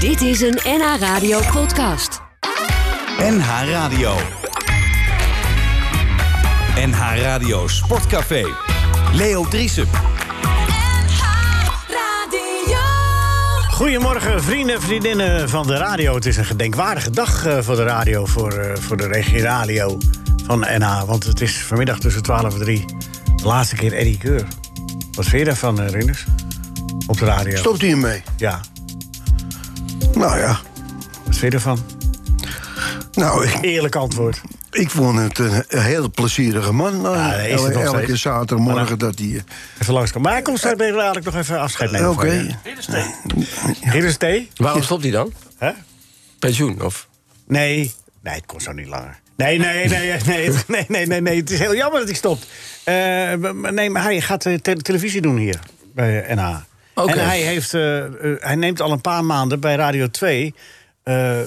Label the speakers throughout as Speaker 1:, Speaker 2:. Speaker 1: Dit is een NH Radio podcast.
Speaker 2: NH Radio. NH Radio Sportcafé. Leo Driesen.
Speaker 3: Goedemorgen, vrienden en vriendinnen van de radio. Het is een gedenkwaardige dag eh, voor de radio, voor, eh, voor de regie radio van NH. Ah, Want het is vanmiddag tussen 12 en 3 de laatste keer Eddie Keur. Wat vind je daarvan, eh, Rinus? Op de radio.
Speaker 4: Stopt hij ermee?
Speaker 3: Ja,
Speaker 4: Nou ja,
Speaker 3: wat vind je daarvan?
Speaker 4: nou, ik,
Speaker 3: Eerlijk antwoord.
Speaker 4: ik vond het een, een heel plezierige man. Nou,
Speaker 3: Ja, hij is het
Speaker 4: el-
Speaker 3: nog
Speaker 4: elke
Speaker 3: steeds. Maar
Speaker 4: zaterdagmorgen
Speaker 3: dan-
Speaker 4: dat hij... eh,
Speaker 3: Even langskomen. Maar hij komt straks even dadelijk nog even afscheid
Speaker 4: Oké,
Speaker 3: nemen van je. Rinus thee?
Speaker 5: Waarom stopt hij dan?
Speaker 3: Hè?
Speaker 5: Pensioen? Of?
Speaker 3: Nee. Nee, het kon zo niet langer. Nee, nee, nee, nee, het- nee, nee, nee, nee. Het is heel jammer dat hij stopt. Eh, maar nee, maar hij gaat eh, te- televisie doen hier bij eh, NH.
Speaker 5: Oké.
Speaker 3: En hij, heeft, eh, eh, hij neemt al een paar maanden bij Radio 2 eh, eh,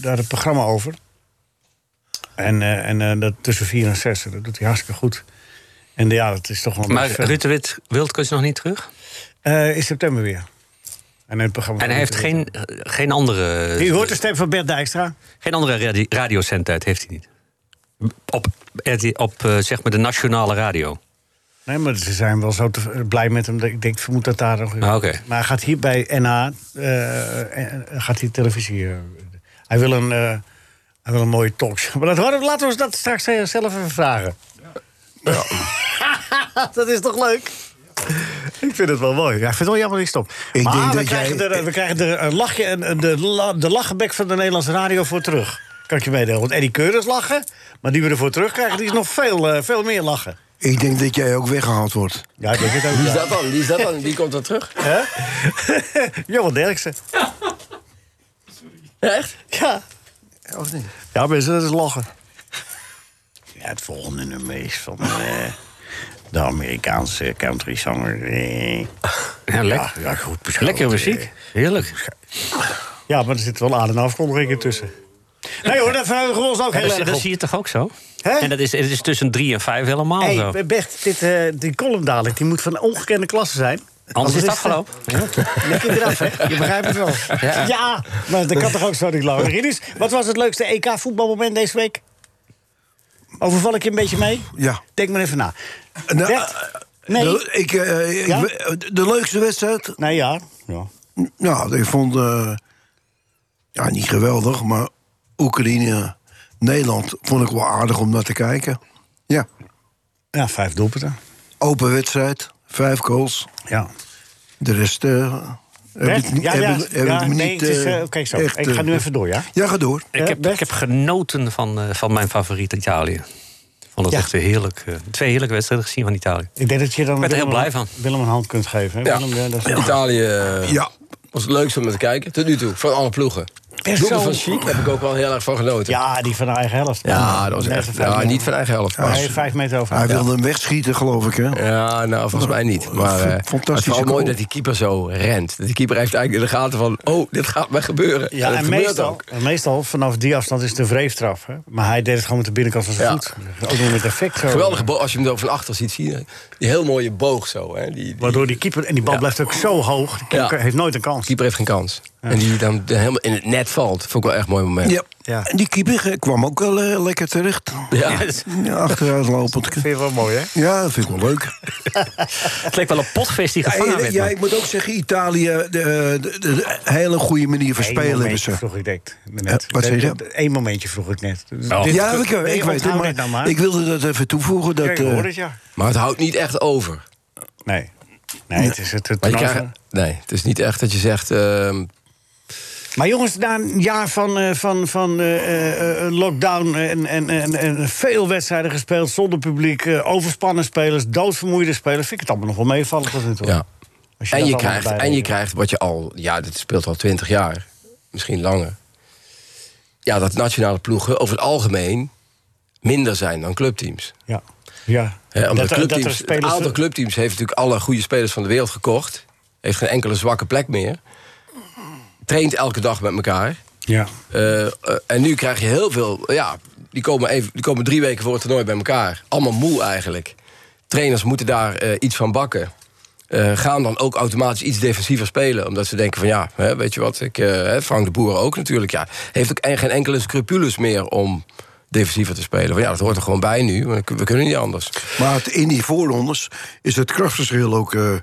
Speaker 3: daar het programma over. En, eh, en eh, dat tussen 4 en 6, dat doet hij hartstikke goed. En ja, dat is toch wel een
Speaker 6: Maar
Speaker 3: beetje-
Speaker 6: Ruud de Wit, Wild is nog niet terug.
Speaker 3: Eh, in september weer. En het programma
Speaker 6: En hij heeft geen, geen andere.
Speaker 3: U hoort de stem van Bert Dijkstra.
Speaker 6: Geen andere radi radiocent uit heeft hij niet. Op, RT op eh, zeg maar de nationale radio.
Speaker 3: Nee, maar ze zijn wel zo te- blij met hem. dat Ik denk, ik vermoed dat daar nog...
Speaker 6: Ah, oké.
Speaker 3: Maar hij gaat hier bij NH... eh, eh, gaat hij televisie... eh, hij, wil een, eh, hij wil een mooie talkshow. Maar dat, horen we- laten we ons dat straks eh, zelf even vragen. dat is toch leuk? Ik vind het wel mooi. Ja, ik vind het wel jammer dat ik stop.
Speaker 4: Ik
Speaker 3: maar
Speaker 4: denk
Speaker 3: we,
Speaker 4: dat
Speaker 3: krijgen
Speaker 4: jij-
Speaker 3: er, eh, we krijgen er een lachje... en en de, la- de lachenbek van de Nederlandse radio voor terug. Kan ik je meedelen. Want Eddie Keur is lachen. Maar die we ervoor terugkrijgen, die is nog veel, eh, veel meer lachen.
Speaker 4: ik denk dat jij ook weggehaald wordt.
Speaker 3: Ja, ik denk het ook.
Speaker 5: Wie is
Speaker 3: ja.
Speaker 5: dat dan? Wie is dat dan? Wie komt dan terug?
Speaker 3: Johan Derksen.
Speaker 5: Echt?
Speaker 3: Ja.
Speaker 4: Of niet?
Speaker 3: Ja, mensen, dat is lachen. Ja, het volgende nummer is van eh, de Amerikaanse country zanger. eh,
Speaker 6: Ja,
Speaker 3: ja, ja, goed beschoten,
Speaker 6: Lekkere
Speaker 3: eh.
Speaker 6: muziek. Heerlijk.
Speaker 3: Ja, maar er zit wel aan- en afkondiging intussen. Nee hoor, dat verheugen we ons ook heel
Speaker 6: dat,
Speaker 3: erg
Speaker 6: dat
Speaker 3: op.
Speaker 6: zie je toch ook zo?
Speaker 3: Hè?
Speaker 6: En dat is, het is tussen drie en vijf helemaal zo.
Speaker 3: Hey, Bert, dit, eh, die column dadelijk, die moet van ongekende klasse zijn.
Speaker 6: Anders is het
Speaker 3: het, eh,
Speaker 6: afgelopen.
Speaker 3: Lik je eraf, hè? Je begrijpt het wel. Ja,
Speaker 6: Ja.
Speaker 3: maar dat kan toch ook zo niet langer. Rinus, wat was het leukste EK-voetbalmoment deze week? Overval ik je een beetje mee?
Speaker 4: Ja.
Speaker 3: Denk maar even na.
Speaker 4: Nou,
Speaker 3: Bert? Nee.
Speaker 4: De, ik, eh, ik-
Speaker 3: Ja?
Speaker 4: de leukste wedstrijd?
Speaker 3: Nee, ja. ja.
Speaker 4: Nou, ik vond... eh, ja, niet geweldig, maar Oekraïne, Nederland... vond ik wel aardig om naar te kijken. Ja,
Speaker 3: Ja, vijf doelpunten.
Speaker 4: open wedstrijd, vijf goals.
Speaker 3: Ja.
Speaker 4: De rest... eh, heb
Speaker 3: Bert?
Speaker 4: ik niet-
Speaker 3: Ja,
Speaker 4: heb
Speaker 3: ja.
Speaker 4: ik- heb
Speaker 3: ja,
Speaker 4: ik niet,
Speaker 3: nee, het is... eh,
Speaker 4: eh,
Speaker 3: Oké, zo.
Speaker 4: echt,
Speaker 3: ik ga
Speaker 4: eh,
Speaker 3: nu even door, ja? Eh,
Speaker 4: Ja, ga door.
Speaker 6: Ik heb,
Speaker 3: Bert?
Speaker 6: ik heb genoten van, eh, van mijn favoriet Italië. Ik vond het
Speaker 3: Ja.
Speaker 6: echt een heerlijk. eh, twee heerlijke wedstrijden gezien van Italië.
Speaker 3: Ik denk dat je dan
Speaker 6: ben er
Speaker 3: Willem
Speaker 6: heel blij
Speaker 3: een-
Speaker 6: van.
Speaker 3: Willem een hand kunt geven. hè?
Speaker 5: Ja.
Speaker 3: Willem, ja, dat is-
Speaker 5: Italië eh,
Speaker 4: Ja.
Speaker 5: was het leukste om naar te kijken. Tot nu toe, van alle ploegen.
Speaker 3: Best
Speaker 5: Doelpunt
Speaker 3: zo-
Speaker 5: van Chic heb ik ook wel heel erg van genoten.
Speaker 3: Ja, die van de eigen helft.
Speaker 5: Ja, dat was
Speaker 3: Net
Speaker 5: echt.
Speaker 3: een vijf
Speaker 5: Ja,
Speaker 3: meter.
Speaker 5: niet van eigen helft.
Speaker 3: Hij
Speaker 5: maar-
Speaker 3: heeft vijf meter over.
Speaker 4: Hij
Speaker 3: Ja.
Speaker 4: wilde hem wegschieten, geloof ik, hè?
Speaker 5: Ja, nou, volgens mij niet. Maar eh,
Speaker 4: Fantastische
Speaker 5: het is wel
Speaker 4: goal.
Speaker 5: mooi dat die keeper zo rent. Dat die keeper heeft eigenlijk in de gaten van... oh, dit gaat mij gebeuren.
Speaker 3: Ja,
Speaker 5: dat
Speaker 3: en
Speaker 5: gebeurt
Speaker 3: meestal,
Speaker 5: ook.
Speaker 3: en meestal vanaf die afstand is het een wreefstraf. Hè? Maar hij deed het gewoon met de binnenkant van zijn
Speaker 5: Ja.
Speaker 3: voet. Ook nog met effect. Zo.
Speaker 5: Geweldige boog, als je hem dan van achter ziet zien. hè. Die heel mooie boog zo. Hè. Die, die
Speaker 3: Waardoor die keeper, en die bal
Speaker 5: Ja.
Speaker 3: blijft ook zo hoog. De keeper
Speaker 5: Ja.
Speaker 3: heeft nooit een kans.
Speaker 5: keeper heeft geen kans. En die dan helemaal in het net valt. Vond ik wel een echt een mooi moment.
Speaker 4: Ja.
Speaker 3: Ja.
Speaker 4: En die keeper eh, kwam ook wel eh, lekker terecht.
Speaker 5: Ja.
Speaker 4: Ja, achteruitlopend.
Speaker 3: Vind je wel mooi, hè?
Speaker 4: Ja, dat vind ik wel leuk.
Speaker 6: Het leek wel een potvis die
Speaker 4: Hey,
Speaker 6: gevangen werd.
Speaker 4: ja,
Speaker 6: man.
Speaker 4: ik moet ook zeggen, Italië, de, eh, de, de- de hele goede manier van
Speaker 3: Eén
Speaker 4: spelen hebben
Speaker 3: momentje
Speaker 4: ze.
Speaker 3: vroeg ik net. net.
Speaker 4: Eh, wat zei je?
Speaker 3: Eén momentje vroeg ik net. Dit-
Speaker 4: Ja, ik,
Speaker 3: nee,
Speaker 4: ik weet het,
Speaker 3: onthoud
Speaker 4: maar,
Speaker 3: dit nou maar.
Speaker 4: ik wilde dat even toevoegen. Dat,
Speaker 3: Ja, ik hoor
Speaker 4: eh,
Speaker 3: het, ja.
Speaker 5: Maar het houdt niet echt over.
Speaker 3: Nee. Nee, het is het, het
Speaker 5: Maar je
Speaker 3: toernooi
Speaker 5: krijgt,
Speaker 3: van-
Speaker 5: nee, het is niet echt dat je zegt... ehm,
Speaker 3: Maar jongens, na een jaar van, eh, van, van eh, eh, eh, lockdown en, en, en, en veel wedstrijden gespeeld zonder publiek, eh, overspannen spelers, doodvermoeide spelers, vind ik het allemaal nog wel meevallen tot nu toe.
Speaker 5: ja.
Speaker 3: Als
Speaker 5: en,
Speaker 3: dat
Speaker 5: je
Speaker 3: allemaal
Speaker 5: krijgt,
Speaker 3: erbij
Speaker 5: en je
Speaker 3: rekent.
Speaker 5: krijgt wat je al... Ja, dit speelt al twintig jaar. Misschien langer. Ja, dat nationale ploegen over het algemeen... minder zijn dan clubteams.
Speaker 3: Ja. ja.
Speaker 5: Hè, omdat
Speaker 3: dat, er- dat er
Speaker 5: clubteams, een
Speaker 3: spelers...
Speaker 5: aantal clubteams heeft natuurlijk alle goede spelers van de wereld gekocht. Heeft geen enkele zwakke plek meer. Traint elke dag met elkaar.
Speaker 3: Ja.
Speaker 5: Eh, eh, en nu krijg je heel veel. Ja, die komen, even, die komen drie weken voor het toernooi bij elkaar. Allemaal moe eigenlijk. Trainers moeten daar eh, iets van bakken. eh, gaan dan ook automatisch iets defensiever spelen. Omdat ze denken van ja, hè, weet je wat, ik, eh, hè, Frank de Boer ook natuurlijk. Ja, heeft ook en- geen enkele scrupules meer om defensiever te spelen. Van ja, dat hoort er gewoon bij nu, want we kunnen niet anders.
Speaker 4: Maar het- in die voorrondes is het krachtverschil ook eh,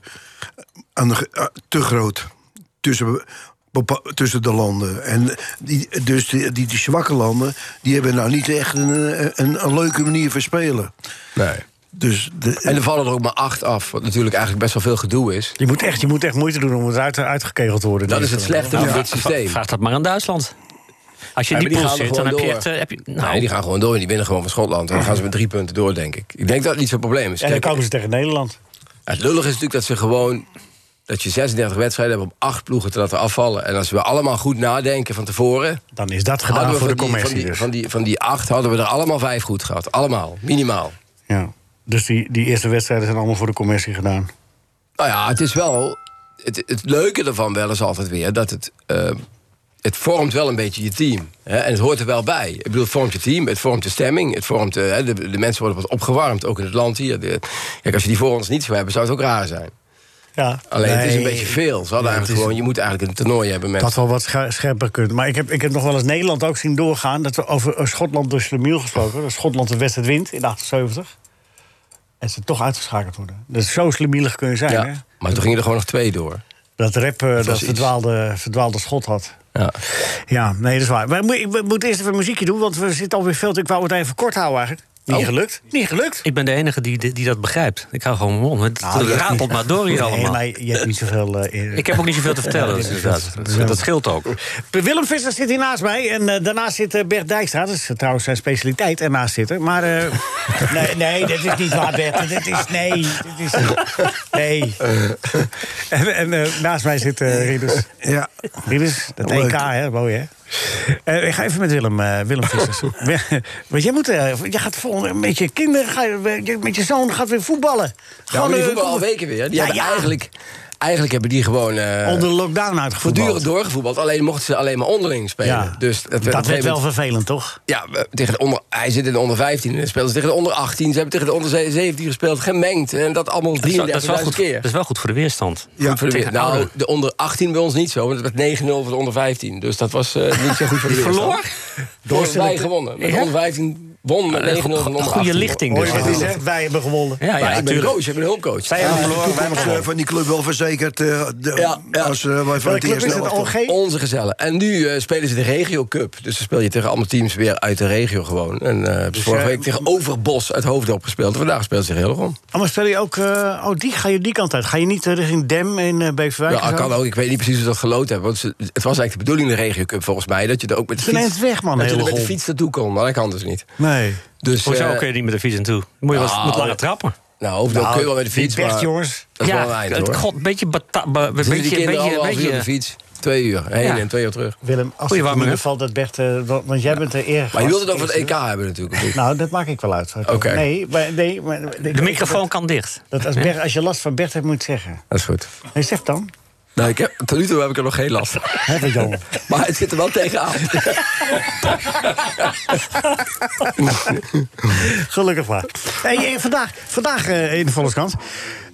Speaker 4: aan de, ge- eh, te groot tussen, bepa- tussen de landen. En die, dus die, die, die zwakke landen die hebben nou niet echt een, een, een leuke manier van spelen.
Speaker 5: Nee.
Speaker 4: Dus de,
Speaker 5: En er vallen er ook maar acht af, wat natuurlijk eigenlijk best wel veel gedoe is.
Speaker 3: Je moet echt, je moet echt moeite doen om het uit, uitgekegeld te worden.
Speaker 5: Dat is het slechte van dit systeem.
Speaker 6: Nou, Vraag dat maar aan Duitsland. Als je in
Speaker 5: Ja, maar die
Speaker 6: die, pool
Speaker 5: gaan er
Speaker 6: zit, dan heb
Speaker 5: gewoon
Speaker 6: je
Speaker 5: door.
Speaker 6: echt... eh, Heb je, nou,
Speaker 5: Nee, die gaan gewoon door en die winnen gewoon van Schotland. En dan gaan ze met drie punten door, denk ik. Ik denk dat het niet zo'n probleem is.
Speaker 3: En dan
Speaker 5: Kijk,
Speaker 3: komen ze tegen Nederland.
Speaker 5: het lullige is natuurlijk dat ze gewoon... dat je 36 wedstrijden hebt om acht ploegen te laten afvallen. En als we allemaal goed nadenken van tevoren...
Speaker 3: Dan is dat
Speaker 5: hadden
Speaker 3: gedaan
Speaker 5: we
Speaker 3: voor de
Speaker 5: van, die,
Speaker 3: commercie
Speaker 5: van, die,
Speaker 3: dus.
Speaker 5: van, die, van die acht hadden we er allemaal vijf goed gehad. Allemaal, minimaal.
Speaker 3: Ja. Dus die, die eerste wedstrijden zijn allemaal voor de commercie gedaan.
Speaker 5: Nou ja, het is wel... Het, het leuke ervan wel is altijd weer dat het... eh, het vormt wel een beetje je team. Hè? En het hoort er wel bij. Ik bedoel, het vormt je team, het vormt de stemming. Het vormt, eh, hè, de, de mensen worden wat opgewarmd, ook in het land hier. De- kijk, als je die voor ons niet zou hebben, zou het ook raar zijn.
Speaker 3: Ja.
Speaker 5: Alleen het is een
Speaker 3: Nee.
Speaker 5: beetje veel. Ze hadden
Speaker 3: Ja, het
Speaker 5: eigenlijk
Speaker 3: is-
Speaker 5: gewoon, je moet eigenlijk een toernooi hebben met...
Speaker 3: Dat had wel wat scha- scherper kunnen. Maar ik heb, ik heb nog wel eens Nederland ook zien doorgaan. Dat we over eh, Schotland door Slemiel gesproken. Dat Schotland de wedstrijd wint in 78. En ze toch uitgeschakeld worden. Dus zo slemielig kun je zijn, hè?
Speaker 5: ja. Maar toen gingen er gewoon nog twee door.
Speaker 3: Dat rep eh, dat
Speaker 5: was iets.
Speaker 3: verdwaalde, verdwaalde schot had.
Speaker 5: Ja.
Speaker 3: Ja, nee, dat is waar. Maar we, moe- we moeten eerst even muziekje doen, want we zitten alweer veel... te- Ik wou het even kort houden eigenlijk. Niet
Speaker 5: Oh.
Speaker 3: gelukt. Niet gelukt.
Speaker 6: ik ben de enige die, die, die dat begrijpt. Ik hou gewoon mijn mond. Het
Speaker 3: Nou,
Speaker 6: het
Speaker 3: je hebt
Speaker 6: ratelt
Speaker 3: niet-
Speaker 6: maar door
Speaker 3: Nee,
Speaker 6: hier allemaal.
Speaker 3: maar je hebt niet zoveel... eh, eer-
Speaker 6: Ik heb ook niet zoveel te vertellen.
Speaker 3: Ja,
Speaker 6: dus
Speaker 3: dit is
Speaker 6: inderdaad.
Speaker 3: het.
Speaker 6: dat, dat scheelt ook.
Speaker 3: Willem Visser zit hier naast mij. En eh, daarnaast zit eh, Bert Dijkstra. Dat is eh, trouwens zijn specialiteit, ernaast zitten. Maar eh, nee, nee, dat is niet waar, Bert. Dat is, nee, dat is... Nee. En, en eh, naast mij zit eh Rieders.
Speaker 4: ja,
Speaker 3: Rieders, dat
Speaker 4: Leuk.
Speaker 3: EK, hè? Mooi, hè? Eh, ik ga even met Willem, eh, Willem Vissers. We- Want jij moet, eh, jij gaat volgende, met je kinderen, ga, je- je- met je zoon gaat weer voetballen.
Speaker 5: Ja, maar
Speaker 3: Gewoon,
Speaker 5: die
Speaker 3: eh,
Speaker 5: voetballen al
Speaker 3: kom-
Speaker 5: weken weer. Die
Speaker 3: Ja,
Speaker 5: hebben
Speaker 3: ja.
Speaker 5: Eigenlijk, eigenlijk hebben die gewoon... eh,
Speaker 3: Onder de lockdown uitgevoerd.
Speaker 5: Voortdurend doorgevoetbald, alleen mochten ze alleen maar onderling spelen. dus dat werd op een
Speaker 3: werd
Speaker 5: gegeven
Speaker 3: wel
Speaker 5: moment-
Speaker 3: vervelend, toch?
Speaker 5: Ja, we- tegen de onder, hij zit in de onder 15 en speelt tegen de onder 18. Ze hebben tegen de onder 17 gespeeld, gemengd. En dat allemaal
Speaker 6: Dat is, wel- dat is wel
Speaker 5: 33.000
Speaker 6: goed,
Speaker 5: keer.
Speaker 6: dat is wel goed voor de weerstand.
Speaker 5: Goed voor de
Speaker 6: tegen
Speaker 5: weer- nou,
Speaker 6: oude-
Speaker 5: de onder 18 bij ons niet zo, want het werd 9-0 voor de onder 15. Dus dat was eh, niet zo goed voor de weerstand.
Speaker 6: Verloor?
Speaker 5: Door wij gewonnen. Met de
Speaker 6: Ja?
Speaker 5: onder 15 won met 9-0 van de
Speaker 6: Go-
Speaker 5: onder 18.
Speaker 6: Goede lichting
Speaker 3: Hoor
Speaker 6: dus.
Speaker 3: je wat hij zegt? Wij hebben gewonnen.
Speaker 6: Ja,
Speaker 5: Ja,
Speaker 6: ja,
Speaker 5: ik ben
Speaker 6: natuurlijk.
Speaker 5: coach, ik ben hulpcoach.
Speaker 6: Zij hebben
Speaker 4: de
Speaker 6: verloren, wij hebben
Speaker 4: toekomst eh,
Speaker 6: gewonnen.
Speaker 4: van die club wel verzekerd. eh, de-
Speaker 5: Ja, ja.
Speaker 4: Als eh, wij van
Speaker 3: Welke
Speaker 4: het
Speaker 3: club
Speaker 4: eerste
Speaker 3: is het?
Speaker 4: elftal-
Speaker 3: OG?
Speaker 5: Onze gezellen. En nu eh, spelen ze de Regio Cup. Dus dan speel je tegen allemaal teams weer uit de regio gewoon. En eh, hebben ze vorige
Speaker 4: jij-
Speaker 5: week tegen Overbos uit Hoofddorp gespeeld. En vandaag speelt ze heel om.
Speaker 3: Oh, maar speel je ook... eh, oh, die, ga je die kant uit? Ga je niet eh, richting Dem in eh Beverwijk?
Speaker 5: Ja, kan ook. Ik weet niet precies hoe ze dat geloot hebben. Want ze- het was eigenlijk de bedoeling, de Regio Cup, volgens mij... dat je er ook met de
Speaker 3: Ze neemt
Speaker 5: fiets,
Speaker 3: het weg, man,
Speaker 5: dat je er
Speaker 3: hele
Speaker 5: met de
Speaker 3: gol.
Speaker 5: fiets naartoe kon. Maar dat kan dus niet.
Speaker 3: Nee.
Speaker 5: Dus,
Speaker 6: Hoezo
Speaker 5: eh,
Speaker 6: kun je niet met de fiets naartoe? Moet je wel
Speaker 5: nou,
Speaker 6: met lange trappen.
Speaker 5: Nou, Hoofddorp kun je wel met de fiets,
Speaker 3: Die Bert,
Speaker 5: maar
Speaker 3: jongens.
Speaker 5: dat is wel een eind,
Speaker 6: het-
Speaker 5: hoor.
Speaker 6: god, een beetje... bata- ba- een
Speaker 5: Zitten die
Speaker 6: beetje,
Speaker 5: kinderen
Speaker 6: beetje,
Speaker 5: allemaal een uur op de
Speaker 6: beetje
Speaker 5: fiets? Twee uur heen
Speaker 6: Ja.
Speaker 5: en twee uur terug.
Speaker 3: Willem, als
Speaker 6: Goeie
Speaker 3: het in
Speaker 6: warming-up.
Speaker 3: ieder geval dat Bert... eh, want want jij bent de eer.
Speaker 5: Maar je wilt het over het EK hebben natuurlijk. of niet?
Speaker 3: Nou, dat maak ik wel uit.
Speaker 5: Oké.
Speaker 3: Nee, maar, nee, maar,
Speaker 6: de microfoon kan dicht.
Speaker 3: Dat als, Bert, als je last van Bert hebt, moet je het zeggen.
Speaker 5: Dat is goed.
Speaker 3: Nee, zeg dan.
Speaker 5: Nou, ik heb, tot nu toe heb ik er nog geen last van.
Speaker 3: Hè, dat jongen.
Speaker 5: Maar het zit er wel tegenaan. Nou
Speaker 3: Gelukkig maar. Hey, eh, vandaag vandaag eh, in de Volkskrant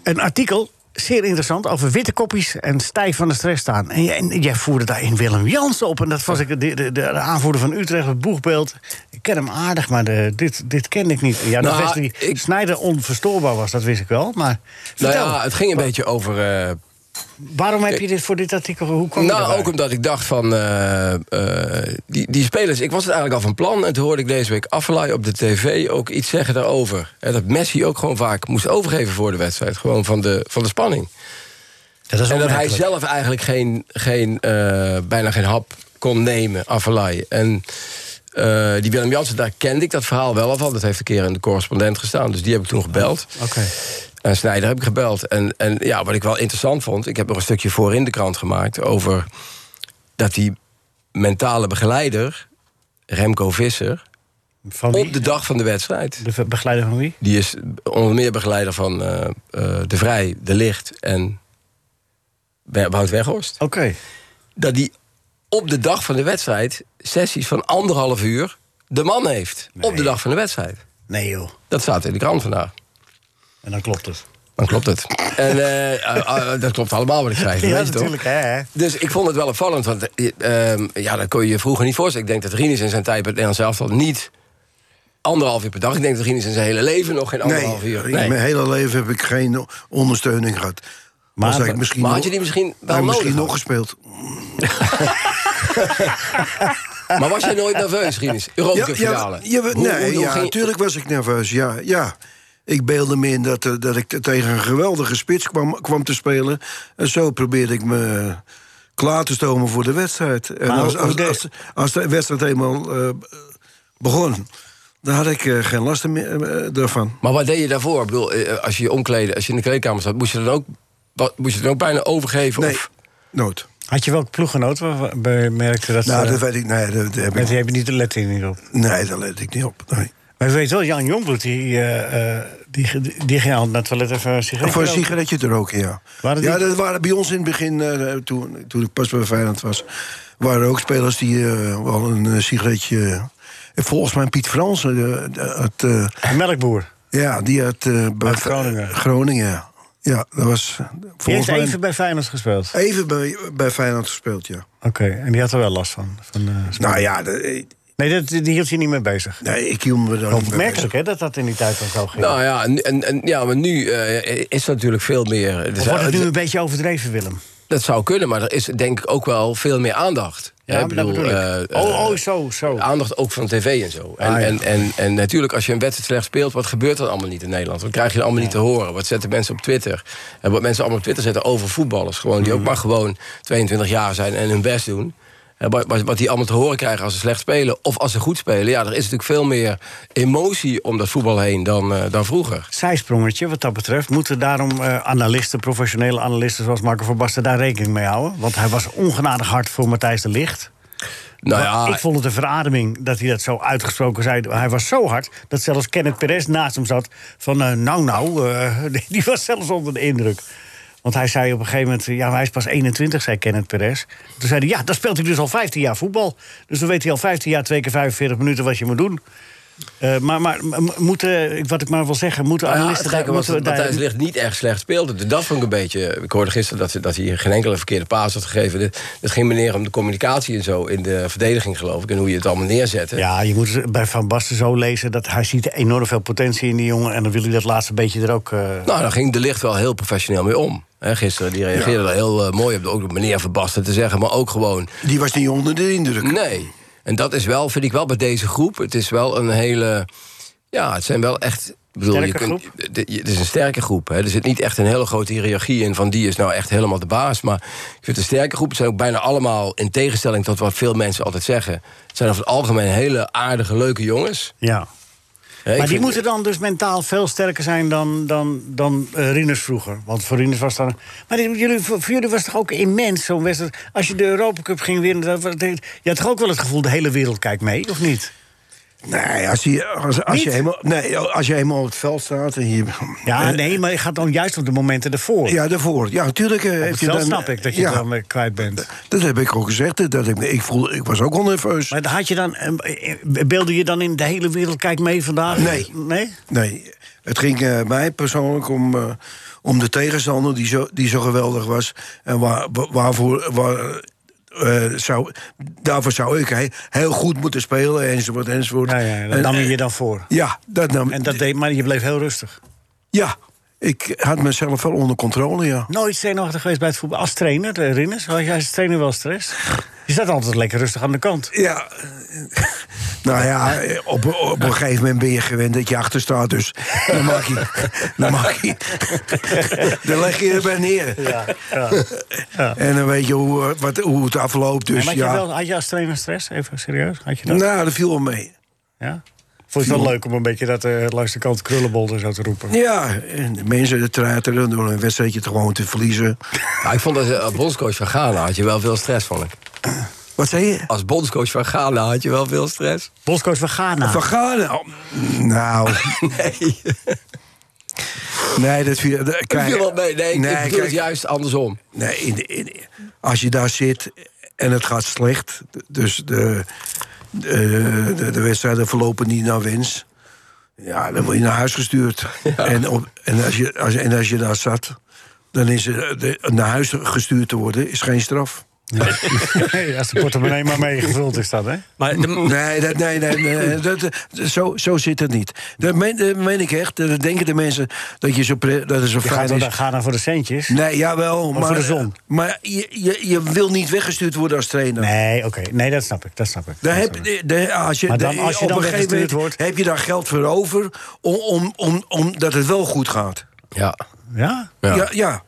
Speaker 3: een artikel, zeer interessant, over witte kopjes en stijf van de stress staan. En, jij- en jij voerde daarin Willem Jansen op. En dat was ik, de, de, de- de aanvoerder van Utrecht, het boegbeeld. Ik ken hem aardig, maar de, dit, dit kende ik niet. Ja, dat
Speaker 5: Nou,
Speaker 3: wist ik,
Speaker 5: ik-
Speaker 3: Snijder onverstoorbaar was, dat wist ik wel. Maar
Speaker 5: Nou
Speaker 3: vertel,
Speaker 5: ja, het ging een beetje over. eh,
Speaker 3: waarom heb je dit voor dit artikel? Hoe kwam je
Speaker 5: nou,
Speaker 3: daarbij?
Speaker 5: ook omdat ik dacht van. eh, eh, die, die spelers, ik was het eigenlijk al van plan. En toen hoorde ik deze week Affelay op de tv ook iets zeggen daarover. Hè, dat Messi ook gewoon vaak moest overgeven voor de wedstrijd. Gewoon van de, van de spanning.
Speaker 3: dat is
Speaker 5: en dat hij
Speaker 3: onmerkelijk.
Speaker 5: zelf eigenlijk geen, geen, eh, bijna geen hap kon nemen, Affelay. En eh, die Willem Jansen, daar kende ik dat verhaal wel al van. Dat heeft een keer in de correspondent gestaan. Dus die heb ik toen gebeld.
Speaker 3: Oké.
Speaker 5: En Snijder heb ik gebeld. En, en ja, wat ik wel interessant vond, ik heb nog een stukje voor in de krant gemaakt over dat die mentale begeleider, Remco Visser,
Speaker 3: Van wie?
Speaker 5: op de dag van de wedstrijd.
Speaker 3: De, begeleider van wie?
Speaker 5: Die is onder meer begeleider van eh, eh, De Vrij, De Licht en Wer- Wout Weghorst.
Speaker 3: Oké.
Speaker 5: Dat die op de dag van de wedstrijd sessies van anderhalf uur de man heeft. Op de dag van de wedstrijd.
Speaker 3: Nee joh,
Speaker 5: Dat staat in de krant vandaag.
Speaker 3: en dan klopt het.
Speaker 5: Dan klopt het. En eh, eh, eh, dat klopt allemaal wat ik zei. dat
Speaker 3: Ja,
Speaker 5: weet je toch?
Speaker 3: natuurlijk, hè.
Speaker 5: Dus ik vond het wel opvallend, want eh, ehm, ja, dat kon je je vroeger niet voorstellen. Ik denk dat Rinus in zijn tijd bij het Nederlands elftal niet anderhalf uur per dag. Ik denk dat Rinus in zijn hele leven nog geen
Speaker 4: Nee,
Speaker 5: anderhalf uur.
Speaker 4: in mijn hele leven heb ik geen ondersteuning gehad. Maar, had ik misschien
Speaker 5: maar
Speaker 4: nog-
Speaker 5: had je die misschien wel
Speaker 4: Nou, misschien
Speaker 5: nodig
Speaker 4: nog gespeeld.
Speaker 5: Maar was jij nooit nerveus, Rinus? Europa
Speaker 4: ja,
Speaker 5: finale.
Speaker 4: ja,
Speaker 5: Hoe-
Speaker 4: nee,
Speaker 5: hoe- hoe
Speaker 4: ja,
Speaker 5: ging-
Speaker 4: natuurlijk was ik nerveus. Ja, ja. Ik beelde me in dat, eh, dat ik te- tegen een geweldige spits kwam, kwam te spelen. En zo probeerde ik me eh, klaar te stomen voor de wedstrijd. En
Speaker 3: Maar
Speaker 4: als,
Speaker 3: hoe-
Speaker 4: als,
Speaker 3: hoe
Speaker 4: als, als de wedstrijd eenmaal eh, begon, dan had ik eh, geen last meer eh, daarvan.
Speaker 5: Maar wat deed je daarvoor? Ik bedoel, eh, als je je omkleden, als je in de kleedkamer zat, moest je dan ook, wat- moest je dan ook bijna overgeven?
Speaker 4: Nee,
Speaker 5: Of,
Speaker 4: nooit.
Speaker 3: Had je wel ploeggenoot waarbij merkte dat
Speaker 4: Nou,
Speaker 3: ze...
Speaker 4: dat weet ik. Nee, dat, dat heb
Speaker 3: Met
Speaker 4: ik,
Speaker 3: die hebben niet de let in hierop.
Speaker 4: nee, daar let ik niet op. Nee.
Speaker 3: Maar je weet wel, Jan Jongbloed, die, eh, eh, die, die, die ging altijd naar het toilet even een sigaret
Speaker 4: Voor een
Speaker 3: roken.
Speaker 4: sigaretje te roken, ja.
Speaker 3: Waren die-
Speaker 4: ja, dat waren bij ons in het begin, eh, toen, toen ik pas bij Feyenoord was... waren er ook spelers die eh, wel een eh, sigaretje... en volgens mij Piet Fransen, eh, had, eh,
Speaker 3: Een melkboer.
Speaker 4: ja, die had... eh, bij-
Speaker 3: Uit Groningen.
Speaker 4: Groningen, ja. Ja, dat was
Speaker 3: Die
Speaker 4: volgens
Speaker 3: heeft
Speaker 4: mij...
Speaker 3: even bij Feyenoord gespeeld.
Speaker 4: even bij, bij Feyenoord gespeeld, ja.
Speaker 3: Oké, en die had er wel last van. van eh,
Speaker 4: Nou ja, de-
Speaker 3: nee, dat, die hield je niet mee bezig.
Speaker 4: nee, ik hield me daar niet mee
Speaker 3: Opmerkelijk, hè, dat dat in die tijd dan zo ging.
Speaker 5: nou ja, en, en, en- ja, maar nu eh, is er natuurlijk veel meer. er
Speaker 3: Of
Speaker 5: zijn-
Speaker 3: wordt het nu een beetje overdreven, Willem?
Speaker 5: Dat zou kunnen, maar er is denk ik ook wel veel meer aandacht. Hè,
Speaker 3: maar dat bedoel ik.
Speaker 5: eh,
Speaker 3: Oh, oh,
Speaker 5: eh,
Speaker 3: zo, zo.
Speaker 5: Aandacht ook van tv en zo. En,
Speaker 3: Ah, ja.
Speaker 5: en, en, en natuurlijk, als je een wedstrijd slecht speelt... wat gebeurt er allemaal niet in Nederland? Wat krijg je allemaal niet te horen? Wat zetten mensen op Twitter? En wat mensen allemaal op Twitter zetten over voetballers. Gewoon,
Speaker 3: Mm.
Speaker 5: die ook maar gewoon 22 jaar zijn en hun best doen. En wat, wat- wat die allemaal te horen krijgen als ze slecht spelen... of als ze goed spelen. Ja, er is natuurlijk veel meer emotie om dat voetbal heen dan, eh, dan vroeger.
Speaker 3: Zijsprongetje, wat dat betreft. Moeten daarom eh, analisten, professionele analisten zoals Marco van Basten... daar rekening mee houden? Want hij was ongenadig hard voor Matthijs de Licht.
Speaker 5: Nou ja,
Speaker 3: ik vond het een verademing dat hij dat zo uitgesproken zei. Hij was zo hard dat zelfs Kenneth Perez naast hem zat. Van eh, nou, nou, eh, die was zelfs onder de indruk. Want hij zei op een gegeven moment, eh, ja, hij is pas 21, zei Kenneth Perez. Toen zei hij, ja, dan speelt hij dus al 15 jaar voetbal. Dus dan weet hij al 15 jaar, twee keer 45 minuten wat je moet doen. Eh, maar maar m- m- moeten, ik- wat ik maar wil zeggen, moeten
Speaker 5: Nou ja, het
Speaker 3: analisten... daar-
Speaker 5: gekke was
Speaker 3: moeten
Speaker 5: dat
Speaker 3: we daar-
Speaker 5: Matthijs de Ligt niet erg slecht speelde. Dus Dat vond ik een beetje... Ik hoorde gisteren dat, ze- dat hij geen enkele verkeerde paas had gegeven. Dit- Het ging meneer om de communicatie en zo in de verdediging, geloof ik. En hoe je het allemaal neerzette.
Speaker 3: Ja, je moet het bij Van Basten zo lezen dat hij ziet enorm veel potentie in die jongen. En dan wil hij dat laatste beetje er ook... eh,
Speaker 5: Nou, daar ging de Ligt wel heel professioneel mee om. Hè, gisteren, die reageerde daar heel eh, mooi op. Ook door meneer Verbasten te zeggen, maar ook gewoon...
Speaker 4: Die was niet onder de indruk.
Speaker 5: Nee. En dat is wel, vind ik wel bij deze groep. Het is wel een hele. Ja, het zijn wel echt. ik Bedoel,
Speaker 3: Sterke
Speaker 5: de- je- Het is een sterke groep. Hè. Er zit niet echt een hele grote hiërarchie in van die is nou echt helemaal de baas. Maar ik vind het een sterke groep. Het zijn ook bijna allemaal, in tegenstelling tot wat veel mensen altijd zeggen. Het zijn over het algemeen hele aardige, leuke jongens.
Speaker 3: ja.
Speaker 5: Hè, ik
Speaker 3: Maar die
Speaker 5: vind-
Speaker 3: moeten dan dus mentaal veel sterker zijn dan, dan, dan eh, Rinus vroeger. Want voor Rinus was dan. Maar dit- jullie, voor voor jullie was toch ook immens zo'n wedstrijd. Als je de Europa Cup ging winnen. Dat, was- dat- je had toch ook wel het gevoel: de hele wereld kijkt mee, of niet?
Speaker 4: Nee, als je, als, als je
Speaker 3: Niet?
Speaker 4: eenmaal, nee, als je eenmaal op het veld staat en je... eh,
Speaker 5: Eh,
Speaker 3: Ja, nee, maar je gaat dan juist op de momenten ervoor.
Speaker 4: Ja, daarvoor. Ja, natuurlijk. eh, heb
Speaker 3: dat
Speaker 4: je dan,
Speaker 3: snap ik dat je
Speaker 4: ja.
Speaker 3: dan eh, kwijt bent.
Speaker 4: Dat heb ik ook gezegd. eh, Dat ik, ik, voel, ik was ook al nerveus.
Speaker 3: Maar had je dan, eh, eh, beelden je dan in de hele wereld kijkt mee vandaag?
Speaker 4: Nee.
Speaker 3: Nee?
Speaker 4: Nee, het ging eh, mij persoonlijk om, eh, om de tegenstander die zo, die zo geweldig was. En waar, wa- waarvoor, waar, eh, zou, daarvoor zou ik he- heel goed moeten spelen, enzovoort, enzovoort.
Speaker 3: Ja, ja, dat
Speaker 4: En- eh,
Speaker 3: nam je je dan voor.
Speaker 4: Ja, dat nam
Speaker 3: En dat deed, maar je bleef heel rustig.
Speaker 4: Ja, ik had mezelf wel onder controle, ja.
Speaker 3: nooit zenuwachtig geweest bij het voetbal. Als trainer, de Rinnes, had jij als trainer wel stress? Je staat altijd lekker rustig aan de kant.
Speaker 4: Ja, nou ja, op, op een gegeven moment ben je gewend dat je achter staat. Dus dan maak je. Dan, maak je, dan leg je erbij neer. En dan weet je hoe, eh, wat, hoe het afloopt. Dus
Speaker 3: maar had,
Speaker 4: ja.
Speaker 3: je wel, had je als trainer stress? Even serieus? Had je dat?
Speaker 4: Nou, dat viel wel mee.
Speaker 3: Ja? Vond je het wel leuk om een beetje dat eh, langs de kant krullenbol er zo te roepen?
Speaker 4: Ja, en de mensen de treiteren door een wedstrijdje te gewoon te verliezen.
Speaker 5: Ja, ik vond dat eh, als bondscoach van Ghana had je wel veel stress, vond ik.
Speaker 4: Wat zei je?
Speaker 5: Als bondscoach van Ghana had je wel veel stress.
Speaker 3: Bosco's, we gaan naar.
Speaker 4: Van Ghana? Oh, nou,
Speaker 5: Nee,
Speaker 4: nee, dat viel... dat-
Speaker 5: ik
Speaker 4: kijk,
Speaker 5: viel wel mee. Nee, ik, ik bedoel
Speaker 4: kijk,
Speaker 5: het juist andersom.
Speaker 4: Nee, in de- in- als je daar zit en het gaat slecht, d- dus de, de, de, de wedstrijden verlopen niet naar wens. Ja, dan word je naar huis gestuurd. En, op, en, als je, als, en als je daar zat, dan is eh, de, naar huis gestuurd te worden is geen straf.
Speaker 3: Nee, als de portemonnee maar meegevuld is dat, hè?
Speaker 6: Maar de-
Speaker 4: Nee, dat, nee, nee, nee, dat, eh, zo, zo zit het niet. Dat meen, dat meen ik echt. Dat denken de mensen dat je zo pre, dat is zo
Speaker 3: Je gaat
Speaker 4: fijn
Speaker 3: dan,
Speaker 4: is.
Speaker 3: dan- ga dan voor de centjes.
Speaker 4: Nee, jawel.
Speaker 3: Maar
Speaker 4: Maar,
Speaker 3: voor de zon.
Speaker 4: maar je, je, je wil niet weggestuurd worden als trainer.
Speaker 3: Nee, oké. Nee, dat snap ik. Dat snap ik.
Speaker 4: Daar
Speaker 3: Dat
Speaker 4: heb,
Speaker 3: snap ik.
Speaker 4: de- de- als je,
Speaker 3: Maar dan-
Speaker 4: de-
Speaker 3: als je dan
Speaker 4: op een gegeven
Speaker 3: weggestuurd
Speaker 4: moment
Speaker 3: wordt-
Speaker 4: heb je daar geld voor over... om- om, om, omdat het wel goed gaat.
Speaker 5: Ja.
Speaker 3: Ja?
Speaker 5: Ja.
Speaker 4: Ja, ja.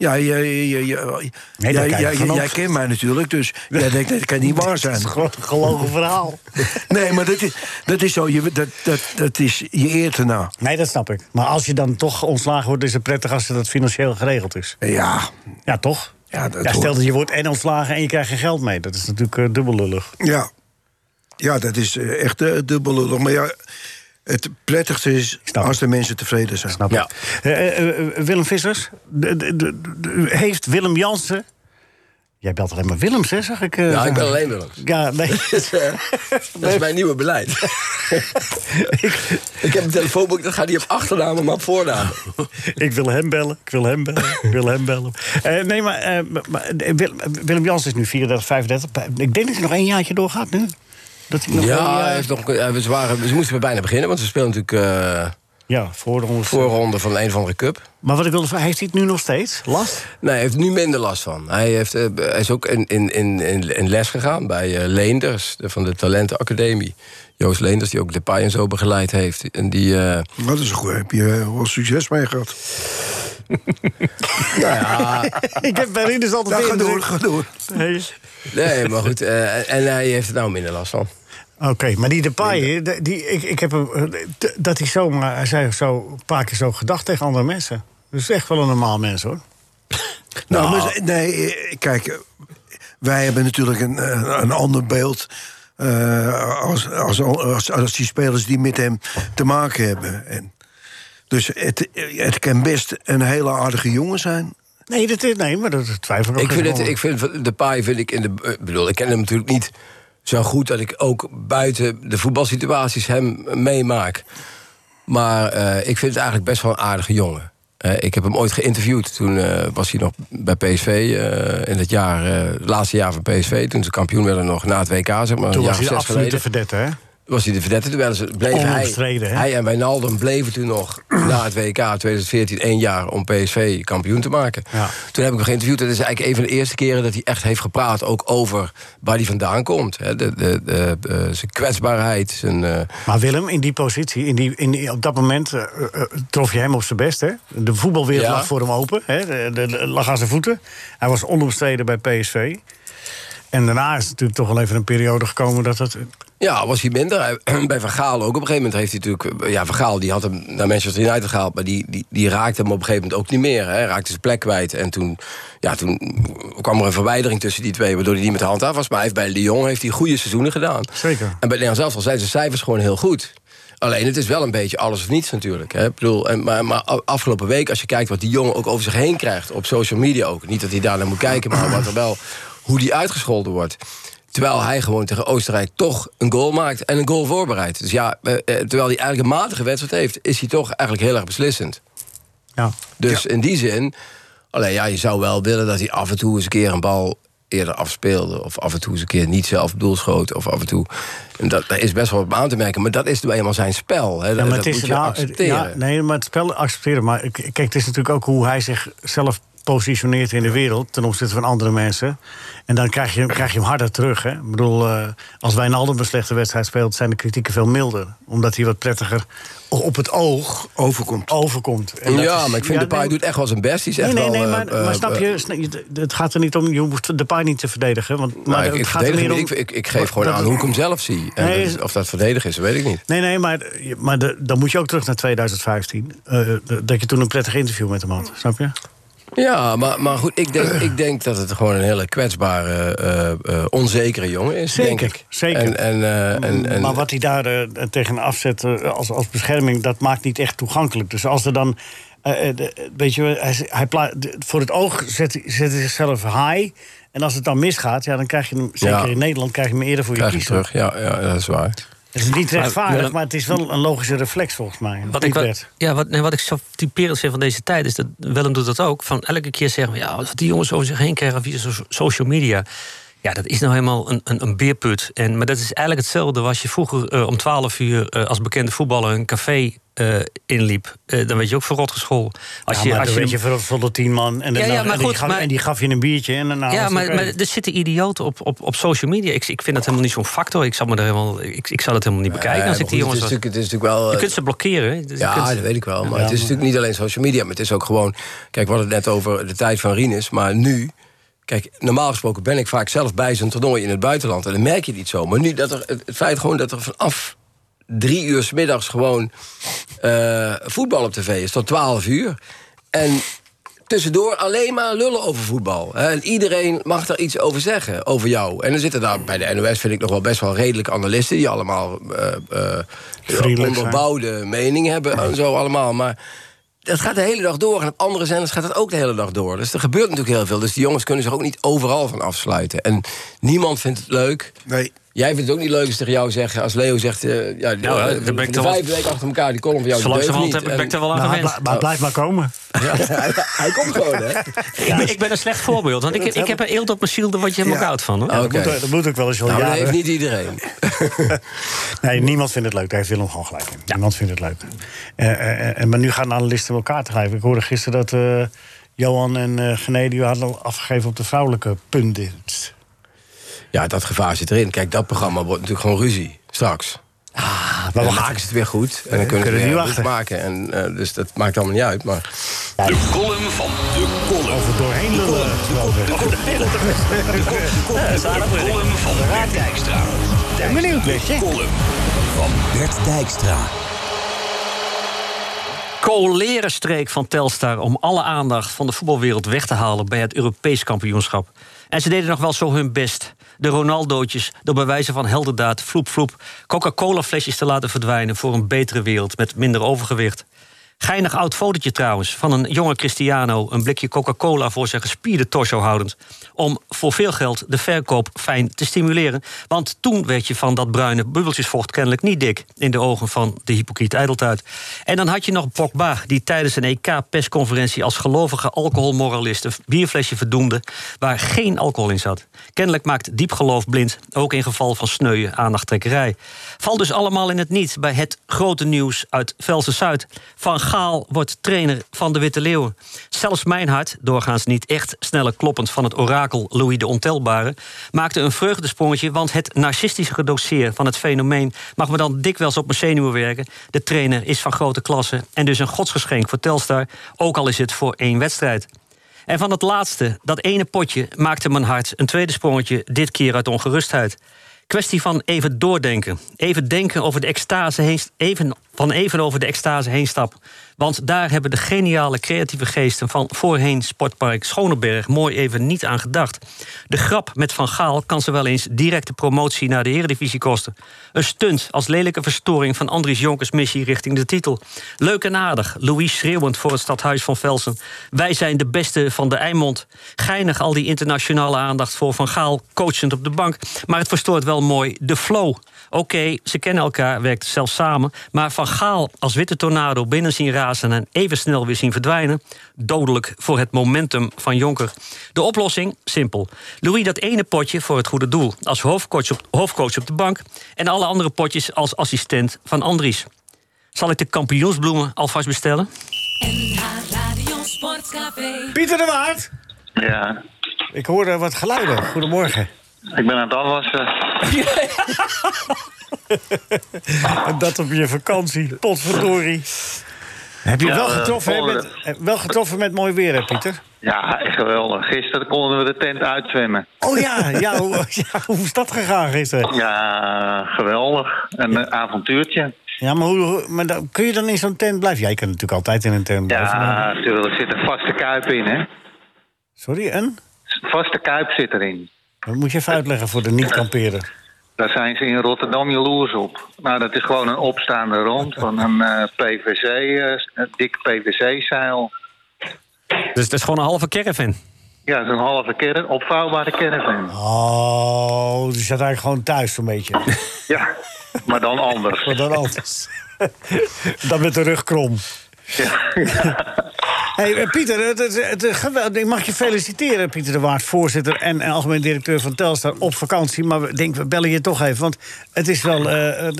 Speaker 4: Ja, ja, ja, ja, ja.
Speaker 3: Nee, daar
Speaker 4: jij,
Speaker 3: kijk ik
Speaker 4: jij,
Speaker 3: van op.
Speaker 4: jij kent mij natuurlijk, dus jij denkt dat kan niet waar
Speaker 3: Dat
Speaker 4: zijn.
Speaker 3: is gewoon een gelogen verhaal.
Speaker 4: Nee, maar dat is, dat is zo, je, dat, dat, dat is je eer te na.
Speaker 3: Nee, dat snap ik. Maar als je dan toch ontslagen wordt, is het prettig als dat financieel geregeld is.
Speaker 4: Ja,
Speaker 3: Ja, toch?
Speaker 4: Ja, dat
Speaker 3: stel
Speaker 4: hoort.
Speaker 3: dat je wordt en ontslagen en je krijgt geen geld mee. Dat is natuurlijk eh, dubbel lullig.
Speaker 4: ja. Ja, dat is eh, echt eh, dubbel lullig. Maar ja, het prettigste is
Speaker 3: snap
Speaker 4: als
Speaker 3: het.
Speaker 4: de mensen tevreden zijn.
Speaker 3: Snap
Speaker 5: Ja.
Speaker 3: ik. Eh, eh, eh, Willem Vissers, de- de- de- de- heeft Willem Jansen... Jij belt alleen maar Willems, hè, zag ik. eh,
Speaker 5: ja, ik ben
Speaker 3: vandaag.
Speaker 5: alleen Willem.
Speaker 3: Ja, nee.
Speaker 5: Dat is mijn nieuwe beleid. ik heb een telefoonboek, dat gaat niet op achternamen, maar op voornamen.
Speaker 3: ik wil hem bellen, ik wil hem bellen, ik wil hem bellen. Eh, nee, maar, eh, maar eh, Willem, Willem Jansen is nu 34, 35. Ik denk dat hij nog één jaartje doorgaat nu. Dat hij nog wel,
Speaker 5: Ja,
Speaker 3: eh,
Speaker 5: hij heeft nog, eh, ze, waren, ze moesten bijna beginnen, want ze spelen natuurlijk eh
Speaker 3: ja, voor de honderd-
Speaker 5: voorronde van een of andere cup.
Speaker 3: Maar wat ik wilde vragen, heeft hij het nu nog steeds? Last?
Speaker 5: Nee, hij heeft nu minder last van. Hij, heeft, eh, hij is ook in, in, in, in, in les gegaan bij eh, Leenders de- van de Talentenacademie. Joost Leenders, die ook Depay en zo begeleid heeft. En die, eh,
Speaker 4: Wat is een goed, heb je eh, wel succes mee gehad?
Speaker 5: Ah,
Speaker 3: ik heb bij Rieders altijd
Speaker 4: Nou,
Speaker 3: de indruk-
Speaker 4: ga door, ga door.
Speaker 3: Nee.
Speaker 5: nee, maar goed. eh, en hij heeft er nou minder last van.
Speaker 3: Oké, maar die Depay, eh, die, ik, ik heb hem, eh, d- dat hij zomaar, hij zei zo een paar keer zo gedacht tegen andere mensen. Dat is echt wel een normaal mens hoor.
Speaker 4: Nou, maar- nee, eh, kijk, eh, wij hebben natuurlijk een, eh, een ander beeld. eh, als, als, als, als die spelers die met hem te maken hebben. En dus het, het kan best een hele aardige jongen zijn.
Speaker 3: Nee, dat is, nee maar dat twijfel ik ook
Speaker 5: Ik vind,
Speaker 3: niet
Speaker 5: het,
Speaker 3: over.
Speaker 5: ik vind Depay vind ik in de. Ik bedoel, ik ken hem natuurlijk niet zo goed dat ik ook buiten de voetbalsituaties hem meemaak. Maar eh, ik vind het eigenlijk best wel een aardige jongen. Eh, ik heb hem ooit geïnterviewd. Toen eh, was hij nog bij PSV. eh, in het jaar, eh, het laatste jaar van PSV. Toen ze kampioen werden nog na het WK. Zeg maar,
Speaker 3: Toen
Speaker 5: een
Speaker 3: was
Speaker 5: jaar
Speaker 3: hij
Speaker 5: of
Speaker 3: de
Speaker 5: zes
Speaker 3: absolute
Speaker 5: geleden
Speaker 3: verdette, hè?
Speaker 5: was hij de verdette. Terwijl ze bleven hij,
Speaker 3: Onomstreden, hè?
Speaker 5: hij en Wijnaldum bleven toen nog na het WK 2014 één jaar om PSV kampioen te maken.
Speaker 3: Ja.
Speaker 5: Toen heb ik hem geïnterviewd. Dat is eigenlijk een van de eerste keren dat hij echt heeft gepraat... ook over waar hij vandaan komt. Hè? De, de, de, eh, zijn kwetsbaarheid, zijn... eh,
Speaker 3: Maar Willem, in die positie, in die, in die- op dat moment eh, eh, trof je hem op zijn best, hè? De voetbalwereld
Speaker 5: Ja.
Speaker 3: lag voor hem open, hè? De, de- de- lag aan zijn voeten. Hij was onomstreden bij PSV. En daarna is natuurlijk toch wel even een periode gekomen dat het...
Speaker 5: Ja, was hij minder. Hij- Bij Van Gaal ook. Op een gegeven moment heeft hij natuurlijk... eh, Ja, Van Gaal die had hem naar Manchester United gehaald... maar die, die, die raakte hem op een gegeven moment ook niet meer. Hè. Hij raakte zijn plek kwijt. En toen, ja, toen kwam er een verwijdering tussen die twee... waardoor hij niet met de hand af was. Maar hij heeft bij Lyon heeft hij goede seizoenen gedaan.
Speaker 3: Zeker.
Speaker 5: En bij Nederland zelf al zijn zijn cijfers gewoon heel goed. Alleen het is wel een beetje alles of niets natuurlijk. Hè. Ik bedoel, en, maar, maar afgelopen week, als je kijkt wat die jongen ook over zich heen krijgt... op social media ook. Niet dat hij daar naar moet kijken, maar wat er wel, hoe die uitgescholden wordt... Terwijl hij gewoon tegen Oostenrijk toch een goal maakt en een goal voorbereidt. Dus ja, eh, eh, terwijl hij eigenlijk een matige wedstrijd heeft, is hij toch eigenlijk heel erg beslissend.
Speaker 3: Ja.
Speaker 5: Dus in die zin, alleen ja, je zou wel willen dat hij af en toe eens een keer een bal eerder afspeelde. Of af en toe eens een keer niet zelf op doel schoot. Of af en toe. En dat, daar is best wel op aan te merken, maar dat is nu eenmaal zijn spel. Hè.
Speaker 3: Ja, maar
Speaker 5: dat
Speaker 3: het
Speaker 5: moet
Speaker 3: is,
Speaker 5: je
Speaker 3: nou, het-
Speaker 5: accepteren.
Speaker 3: ja, nee, maar het spel accepteren. Maar k- kijk, het is natuurlijk ook hoe hij zichzelf positioneert in de wereld ten opzichte van andere mensen. En dan krijg je, krijg je hem harder terug. Hè? Ik bedoel, eh als Wijnaldum een slechte wedstrijd speelt, zijn de kritieken veel milder. Omdat hij wat prettiger op het oog
Speaker 4: Overkomt.
Speaker 3: overkomt. En dat
Speaker 5: ja,
Speaker 3: is-
Speaker 5: maar ik vind
Speaker 3: ja,
Speaker 5: de Depay
Speaker 3: nee,
Speaker 5: doet echt wel zijn best. Die is echt
Speaker 3: Nee, nee,
Speaker 5: wel,
Speaker 3: nee,
Speaker 5: eh,
Speaker 3: maar, maar
Speaker 5: eh,
Speaker 3: snap je, sna- je- het gaat er niet om, je hoeft Depay niet te verdedigen. Want, maar
Speaker 5: Nou, ik,
Speaker 3: het
Speaker 5: ik,
Speaker 3: gaat er
Speaker 5: verdedig
Speaker 3: meer
Speaker 5: hem
Speaker 3: om,
Speaker 5: niet. ik, ik, ik geef gewoon
Speaker 3: dat-
Speaker 5: aan hoe ik hem zelf zie. En
Speaker 3: Nee,
Speaker 5: dat-
Speaker 3: is-
Speaker 5: of dat verdedig is, dat weet ik niet.
Speaker 3: Nee, nee, maar, maar de- dan moet je ook terug naar 2015. eh, de- dat je toen een prettig interview met hem had, snap je?
Speaker 5: Ja, maar, maar goed, ik denk, ik denk dat het gewoon een hele kwetsbare, eh, eh, onzekere jongen is.
Speaker 3: Zeker,
Speaker 5: denk ik.
Speaker 3: zeker. Mm,
Speaker 5: En, en, eh, en, en,
Speaker 3: maar wat hij daar eh, tegen afzet eh, als, als bescherming, dat maakt niet echt toegankelijk. Dus als er dan. eh, eh, de- weet je, hij, hij pla- de- voor het oog zet, hij- zet hij zichzelf high. En als het dan misgaat, ja, dan krijg je hem, zeker
Speaker 5: Ja.
Speaker 3: in Nederland, krijg je hem eerder voor je
Speaker 5: krijg je
Speaker 3: kiezen.
Speaker 5: terug. Ja, ja, dat is waar.
Speaker 3: Het Het is niet rechtvaardig,
Speaker 6: Maar-
Speaker 3: maar het is wel een logische reflex volgens mij.
Speaker 6: Wat ik,
Speaker 3: Niet
Speaker 6: wel-
Speaker 3: werd.
Speaker 6: ja, wat, nee, wat ik zo typerend vind van deze tijd is dat Willem doet dat ook. Van elke keer zeggen we, ja, wat die jongens over zich heen krijgen via so- social media. Ja, dat is nou helemaal een, een, een beerput. En, maar dat is eigenlijk hetzelfde als je vroeger eh, om 12 uur eh, als bekende voetballer een café eh, inliep. Eh, dan werd je ook verrot geschool. Als
Speaker 3: Ja, maar dan weet
Speaker 6: hem-
Speaker 3: je voor, voor de tien man. En, dan-
Speaker 6: Ja, ja,
Speaker 3: en
Speaker 6: maar
Speaker 3: die
Speaker 6: goed,
Speaker 3: gaf,
Speaker 6: maar-
Speaker 3: en die gaf je een biertje. En daarna was
Speaker 6: ja,
Speaker 3: het
Speaker 6: maar,
Speaker 3: oké.
Speaker 6: maar er zitten idioten op, op, op social media. Ik, ik vind dat helemaal niet zo'n factor. Ik zal, me daar helemaal, ik, ik zal het helemaal niet bekijken
Speaker 5: Eh,
Speaker 6: als
Speaker 5: maar
Speaker 6: ik nou die
Speaker 5: goed, het is,
Speaker 6: jongens... was.
Speaker 5: natuurlijk, het is natuurlijk wel...
Speaker 6: Je
Speaker 5: eh,
Speaker 6: kunt ze blokkeren. hè. Dus je
Speaker 5: ja,
Speaker 6: kunt-
Speaker 5: dat weet ik wel. Maar het is natuurlijk niet alleen social media. Maar het is ook gewoon... Kijk, we hadden het net over de tijd van Rinus. Maar nu... Kijk, normaal gesproken ben ik vaak zelf bij zo'n toernooi in het buitenland. En dan merk je het niet zo. Maar nu, dat er, het, het feit gewoon dat er vanaf drie uur 's middags gewoon eh, voetbal op tv is. Tot twaalf uur. En tussendoor alleen maar lullen over voetbal. hè. En iedereen mag daar iets over zeggen, over jou. En dan zitten daar bij de NOS, vind ik nog wel best wel redelijk analisten... die allemaal eh, eh,
Speaker 3: Vriendelijk zijn.
Speaker 5: onderbouwde meningen hebben en zo allemaal. Maar dat gaat de hele dag door. En op andere zenders gaat dat ook de hele dag door. Dus er gebeurt natuurlijk heel veel. Dus die jongens kunnen zich ook niet overal van afsluiten. En niemand vindt het leuk...
Speaker 4: Nee.
Speaker 5: Jij vindt het ook niet leuk als tegen jou zeggen, als Leo zegt, eh, ja,
Speaker 6: Nou, hè,
Speaker 5: eh,
Speaker 6: dan
Speaker 5: de
Speaker 6: ben ik
Speaker 5: de
Speaker 6: er wel-
Speaker 5: vijf weken achter elkaar die column van jou.
Speaker 6: Zo
Speaker 5: die deugt
Speaker 6: langzamerhand
Speaker 5: niet.
Speaker 6: heb ik ben
Speaker 5: En-
Speaker 6: ik er wel aan
Speaker 3: Nou, hij,
Speaker 6: gewend.
Speaker 3: bla- maar het blijft maar komen.
Speaker 5: hij, hij komt gewoon, hè?
Speaker 6: Ik, ben, ik ben een slecht voorbeeld, want ik, heb- ik Oh, heb een eelt op mijn ziel, daar word je helemaal koud van. Hoor.
Speaker 5: Oké.
Speaker 3: Dat, moet, dat moet ook wel eens wel
Speaker 5: Nou, dat
Speaker 3: jaren.
Speaker 5: heeft niet iedereen.
Speaker 3: Nee, niemand vindt het leuk. Daar heeft Willem gewoon gelijk in. Niemand vindt het leuk. Eh, eh, eh, maar nu gaan de analisten elkaar tegelijk. Ik hoorde gisteren dat eh, Johan en eh Gené... die hadden al afgegeven op de vrouwelijke pundit.
Speaker 5: Ja, dat gevaar zit erin. Kijk, dat programma wordt natuurlijk gewoon ruzie straks.
Speaker 3: Maar
Speaker 5: Maar
Speaker 3: we
Speaker 5: dan
Speaker 3: gaan...
Speaker 5: maken ze het weer goed. En dan kunnen,
Speaker 3: kunnen niet
Speaker 5: ze weer
Speaker 3: wachten.
Speaker 5: goed maken. En, eh, dus dat maakt allemaal niet uit. Maar
Speaker 2: De column van de kolom.
Speaker 3: Over doorheen lullen.
Speaker 2: De column van Bert Dijkstra.
Speaker 3: ben benieuwd, weet je.
Speaker 2: Column van Bert Dijkstra.
Speaker 6: Coleren streek van Telstar om alle aandacht van de voetbalwereld weg te halen bij het Europees kampioenschap. En ze deden nog wel zo hun best. De Ronaldootjes door bij wijze van heldendaad vloep vloep Coca-Cola flesjes te laten verdwijnen voor een betere wereld met minder overgewicht. Geinig oud fotootje trouwens, van een jonge Cristiano... een blikje Coca-Cola voor zijn gespierde torso houdend... om voor veel geld de verkoop fijn te stimuleren. Want toen werd je van dat bruine bubbeltjesvocht kennelijk niet dik... in de ogen van de hypocriet ijdeltuit. En dan had je nog Pogba, die tijdens een EK-persconferentie... als gelovige alcoholmoralist een bierflesje verdoemde... waar geen alcohol in zat. Kennelijk maakt diep geloof blind, ook in geval van sneuwe aandachttrekkerij. Valt dus allemaal in het niet bij het grote nieuws uit Velsen Zuid. Van Gaal wordt trainer van de Witte Leeuwen. Zelfs mijn hart, doorgaans niet echt snelle kloppend van het orakel Louis de Ontelbare, maakte een vreugdesprongetje, want het narcistische gedoseer van het fenomeen mag me dan dikwijls op mijn zenuwen werken. De trainer is van grote klasse en dus een godsgeschenk voor Telstar, ook al is het voor één wedstrijd. En van het laatste, dat ene potje, maakte mijn hart een tweede sprongetje, dit keer uit ongerustheid. Kwestie van even doordenken. Even denken over de extase heen, even, van even over de extase heen stap. Want daar hebben de geniale creatieve geesten van voorheen Sportpark Schoneberg mooi even niet aan gedacht. De grap met Van Gaal kan ze wel eens directe promotie naar de Eredivisie kosten. Een stunt als lelijke verstoring van Andries Jonkers missie richting de titel. Leuk en aardig, Louis schreeuwend voor het stadhuis van Velsen. Wij zijn de beste van de Eimond. Geinig al die internationale aandacht voor Van Gaal, coachend op de bank. Maar het verstoort wel mooi de flow. Oké, ze kennen elkaar, werkt zelfs samen. Maar Van Gaal als witte tornado binnen zien razen en even snel weer zien verdwijnen. Dodelijk voor het momentum van Jonker. De oplossing? Simpel. Louis dat ene potje voor het goede doel. Als hoofdcoach op, hoofdcoach op de bank. En alle andere potjes als assistent van Andries. Zal ik de kampioensbloemen alvast bestellen?
Speaker 1: NH Radio Sportcafé.
Speaker 3: Pieter de Waard.
Speaker 7: Ja,
Speaker 3: Ik hoorde wat geluiden. Goedemorgen.
Speaker 7: ik ben aan het afwassen.
Speaker 3: En dat op je vakantie. Potverdorie. Heb je
Speaker 7: Ja,
Speaker 3: wel
Speaker 7: eh,
Speaker 3: getroffen, hè, met,
Speaker 7: volgende.
Speaker 3: eh, wel getroffen met mooi weer, hè, Pieter?
Speaker 7: Ja, echt geweldig. Gisteren konden we de tent uitzwemmen.
Speaker 3: Oh ja, ja, hoe, ja, hoe is dat gegaan gisteren?
Speaker 7: Ja, geweldig. Een eh, avontuurtje.
Speaker 3: Ja, maar, hoe, hoe- maar dan, kun je dan in zo'n tent blijven? Jij kan natuurlijk altijd in een tent blijven. maar-
Speaker 7: Ja, natuurlijk. Er zit een vaste kuip in, hè?
Speaker 3: Sorry, en?
Speaker 7: Vaste kuip zit erin.
Speaker 3: Dat moet je even uitleggen voor de niet-kampeerder.
Speaker 7: Daar zijn ze in Rotterdam jaloers op. Nou, dat is gewoon een opstaande rond van een eh, PVC, eh, een dik PVC-zeil.
Speaker 6: Dus het is gewoon een halve caravan.
Speaker 7: Ja, zo'n halve caravan, opvouwbare caravan.
Speaker 3: Oh, die zat eigenlijk gewoon thuis zo'n beetje.
Speaker 7: Ja, maar dan anders.
Speaker 3: Wat dan anders. dan met de rug krom. hey, eh, Pieter, het, het, het, eh, geweld- ik mag je feliciteren, Pieter de Waard, voorzitter en, en algemeen directeur van Telstar, op vakantie. Maar we denk, we bellen je toch even, want het is wel eh, eh,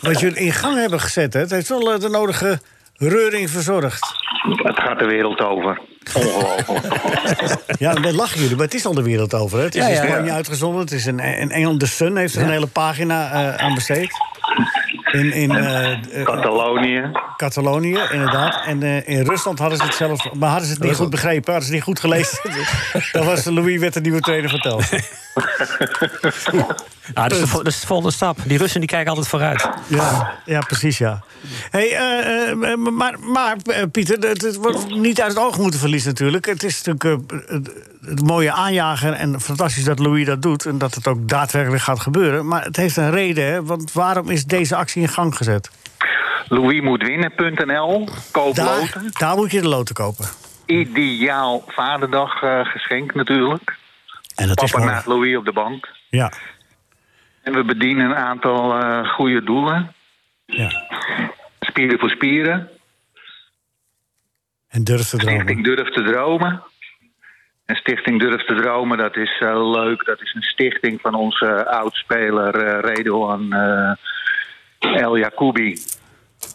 Speaker 3: wat jullie in gang hebben gezet. Hè? Het heeft wel eh, de nodige reuring verzorgd.
Speaker 7: Het gaat de wereld over. Ongelooflijk.
Speaker 3: Ja, daar lachen jullie, maar het is al de wereld over. Hè? Het is
Speaker 5: Ja,
Speaker 3: in
Speaker 5: ja, ja.
Speaker 3: Spanje uitgezonden, het is in, in Engeland, de Sun heeft er een hele pagina eh, aan besteed. In, in, eh, eh,
Speaker 7: Catalonië.
Speaker 3: Catalonië, inderdaad. En eh, in Rusland hadden ze het zelf... Maar hadden ze het niet goed begrepen, hadden ze het niet goed gelezen. Dan was Louis werd de nieuwe trainer van Telstar.
Speaker 6: Ah, dat, is de, vol- dat is de volgende stap. Die Russen die kijken altijd vooruit.
Speaker 3: Ja, ja, precies, ja. Hey, eh, eh, eh, maar, maar eh, Pieter, het, het wordt niet uit het oog moeten verliezen natuurlijk. Het is natuurlijk eh, het, het mooie aanjager en fantastisch dat Louis dat doet... en dat het ook daadwerkelijk gaat gebeuren. Maar het heeft een reden, hè, want waarom is deze actie in gang gezet?
Speaker 7: Louismoetwinnen.nl. Koop
Speaker 3: Daar,
Speaker 7: loten.
Speaker 3: daar moet je de loten kopen.
Speaker 7: Ideaal vaderdag eh, geschenk natuurlijk.
Speaker 3: En dat
Speaker 7: Papa
Speaker 3: is mooi.
Speaker 7: naast Louis op de bank.
Speaker 3: Ja,
Speaker 7: En we bedienen een aantal eh, goede doelen.
Speaker 3: ja.
Speaker 7: Spieren voor spieren.
Speaker 3: En durf te dromen.
Speaker 7: Stichting Durf te Dromen. En Stichting Durf te Dromen, dat is eh, leuk. Dat is een stichting van onze oudspeler eh Redouan eh, El Jacoubi.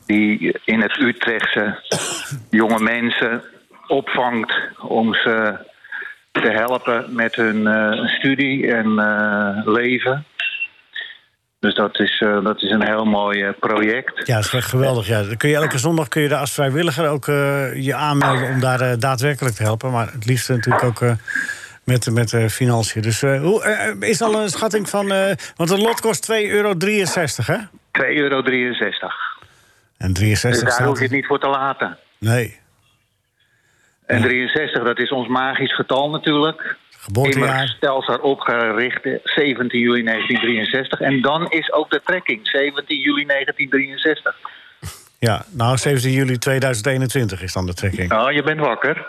Speaker 7: Die in het Utrechtse jonge mensen opvangt om ze te helpen met hun eh, studie en eh, leven. Dus dat is, eh, dat is een heel mooi eh, project.
Speaker 3: Ja, dat is echt geweldig. Ja. Dan kun je elke zondag kun je daar als vrijwilliger ook eh, je aanmelden om daar eh, daadwerkelijk te helpen. Maar het liefst natuurlijk ook eh, met, met eh, financiën. Dus eh, hoe, eh, eh, is al een schatting van. eh, want een lot kost 2,63 euro, hè?
Speaker 7: 2,63 euro.
Speaker 3: En 63
Speaker 7: Dus daar
Speaker 3: staat
Speaker 7: hoef je
Speaker 3: er-
Speaker 7: het niet voor te laten.
Speaker 3: Nee,
Speaker 7: En 63, dat is ons magisch getal natuurlijk. Immers
Speaker 3: geboortejaar.
Speaker 7: stelsel opgericht eh, 17 juli 1963. En dan is ook de trekking 17 juli 1963.
Speaker 3: Ja, nou 17 juli 2021 is dan de trekking.
Speaker 7: Nou, je bent wakker.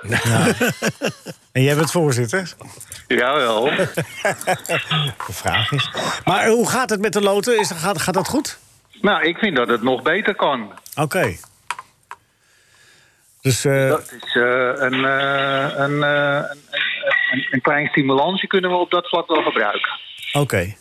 Speaker 3: En jij bent voorzitter?
Speaker 7: Jawel.
Speaker 3: De vraag is. Maar eh, hoe gaat het met de loten? Is, gaat, gaat dat goed?
Speaker 7: nou, ik vind dat het nog beter kan.
Speaker 3: Oké. Dus. eh,
Speaker 7: Dat is eh, een, eh, een, eh, een, een, een klein stimulansje kunnen we op dat vlak wel gebruiken.
Speaker 3: Oké.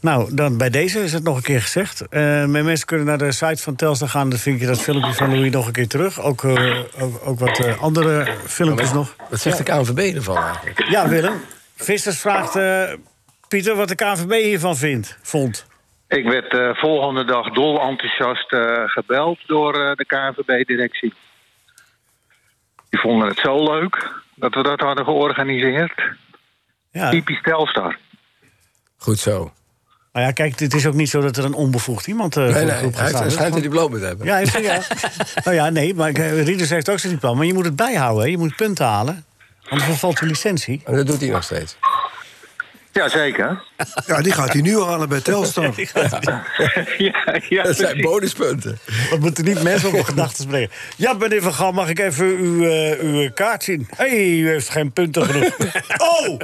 Speaker 3: Nou, dan bij deze is het nog een keer gezegd. Eh, mijn mensen kunnen naar de site van Telstar gaan. Dan vind je dat filmpje van Louis nog een keer terug. Ook, eh, ook, ook wat eh, andere filmpjes nog.
Speaker 5: Wat zegt de KNVB ervan eigenlijk?
Speaker 3: Ja, Willem. Vissers vraagt eh, Pieter wat de KVB hiervan vindt, vond.
Speaker 7: Ik werd de volgende dag dol enthousiast eh, gebeld door eh, de KNVB-directie. Die vonden het zo leuk dat we dat hadden georganiseerd.
Speaker 3: Ja.
Speaker 7: Typisch Telstar.
Speaker 5: Goed zo.
Speaker 3: Maar ja, kijk, het is ook niet zo dat er een onbevoegd iemand eh voor
Speaker 5: Nee,
Speaker 3: de
Speaker 5: nee,
Speaker 3: groep
Speaker 5: hij
Speaker 3: gaat staan.
Speaker 5: schijnt hij die diploma te hebben.
Speaker 3: Ja, hij zei, ja. nou ja, nee, maar eh, Rieders heeft ook zijn plan. Maar je moet het bijhouden, hè. je moet punten halen. Anders vervalt de licentie.
Speaker 5: En dat doet hij nog steeds.
Speaker 7: Jazeker.
Speaker 4: Ja, die gaat hij nu halen bij Telstar.
Speaker 7: ja, ja,
Speaker 5: Dat zijn
Speaker 7: precies.
Speaker 5: bonuspunten.
Speaker 3: We moeten niet mensen op de gedachten brengen. Ja, meneer Van Gaal, mag ik even uw, eh, uw kaart zien? Hé, hey, u heeft geen punten genoeg. oh,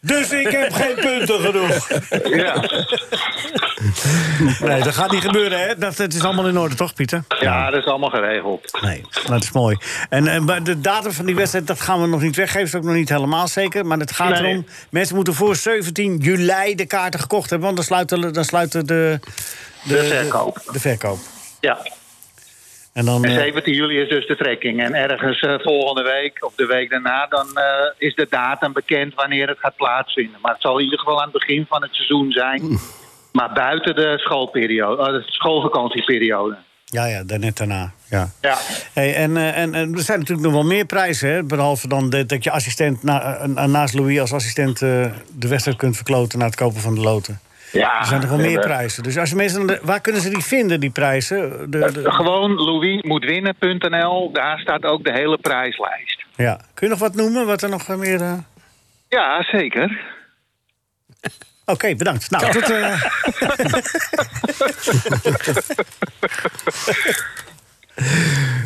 Speaker 3: dus ik heb geen punten genoeg.
Speaker 7: ja.
Speaker 3: Nee, dat gaat niet gebeuren, hè? Dat, het is allemaal in orde, toch, Pieter?
Speaker 7: ja, dat is allemaal geregeld.
Speaker 3: Nee, dat is mooi. En, eh, maar de datum van die wedstrijd, dat gaan we nog niet weggeven. Dat is ook nog niet helemaal zeker. Maar het gaat
Speaker 7: Nee.
Speaker 3: erom, mensen moeten voor 17 juli de kaarten gekocht hebben. Want dan sluiten, dan sluiten de, de,
Speaker 7: verkoop.
Speaker 3: De verkoop.
Speaker 7: Ja.
Speaker 3: En dan...
Speaker 7: En
Speaker 3: eh,
Speaker 7: 17 juli is dus de trekking. En ergens eh, volgende week of de week daarna... dan eh, is de datum bekend wanneer het gaat plaatsvinden. Maar het zal in ieder geval aan het begin van het seizoen zijn. Maar buiten de, schoolperiode, eh, de schoolvakantieperiode.
Speaker 3: ja, ja, daarnet daarna. Ja.
Speaker 7: Ja.
Speaker 3: Hey, en, eh, en, en er zijn natuurlijk nog wel meer prijzen. Hè? Behalve dan de- dat je assistent na, eh, naast Louis als assistent eh, de wedstrijd kunt verkloten na het kopen van de loten.
Speaker 7: ja.
Speaker 3: Er zijn nog wel meer
Speaker 7: Eh,
Speaker 3: prijzen. Dus als je mensen, naar de- waar kunnen ze die vinden, die prijzen? De, de-
Speaker 7: Gewoon louismoetwinnen.nl. Daar staat ook de hele prijslijst.
Speaker 3: ja. Kun je nog wat noemen? Wat er nog meer. eh? Oké,
Speaker 7: Ja, zeker.
Speaker 3: bedankt. Nou, tot, eh,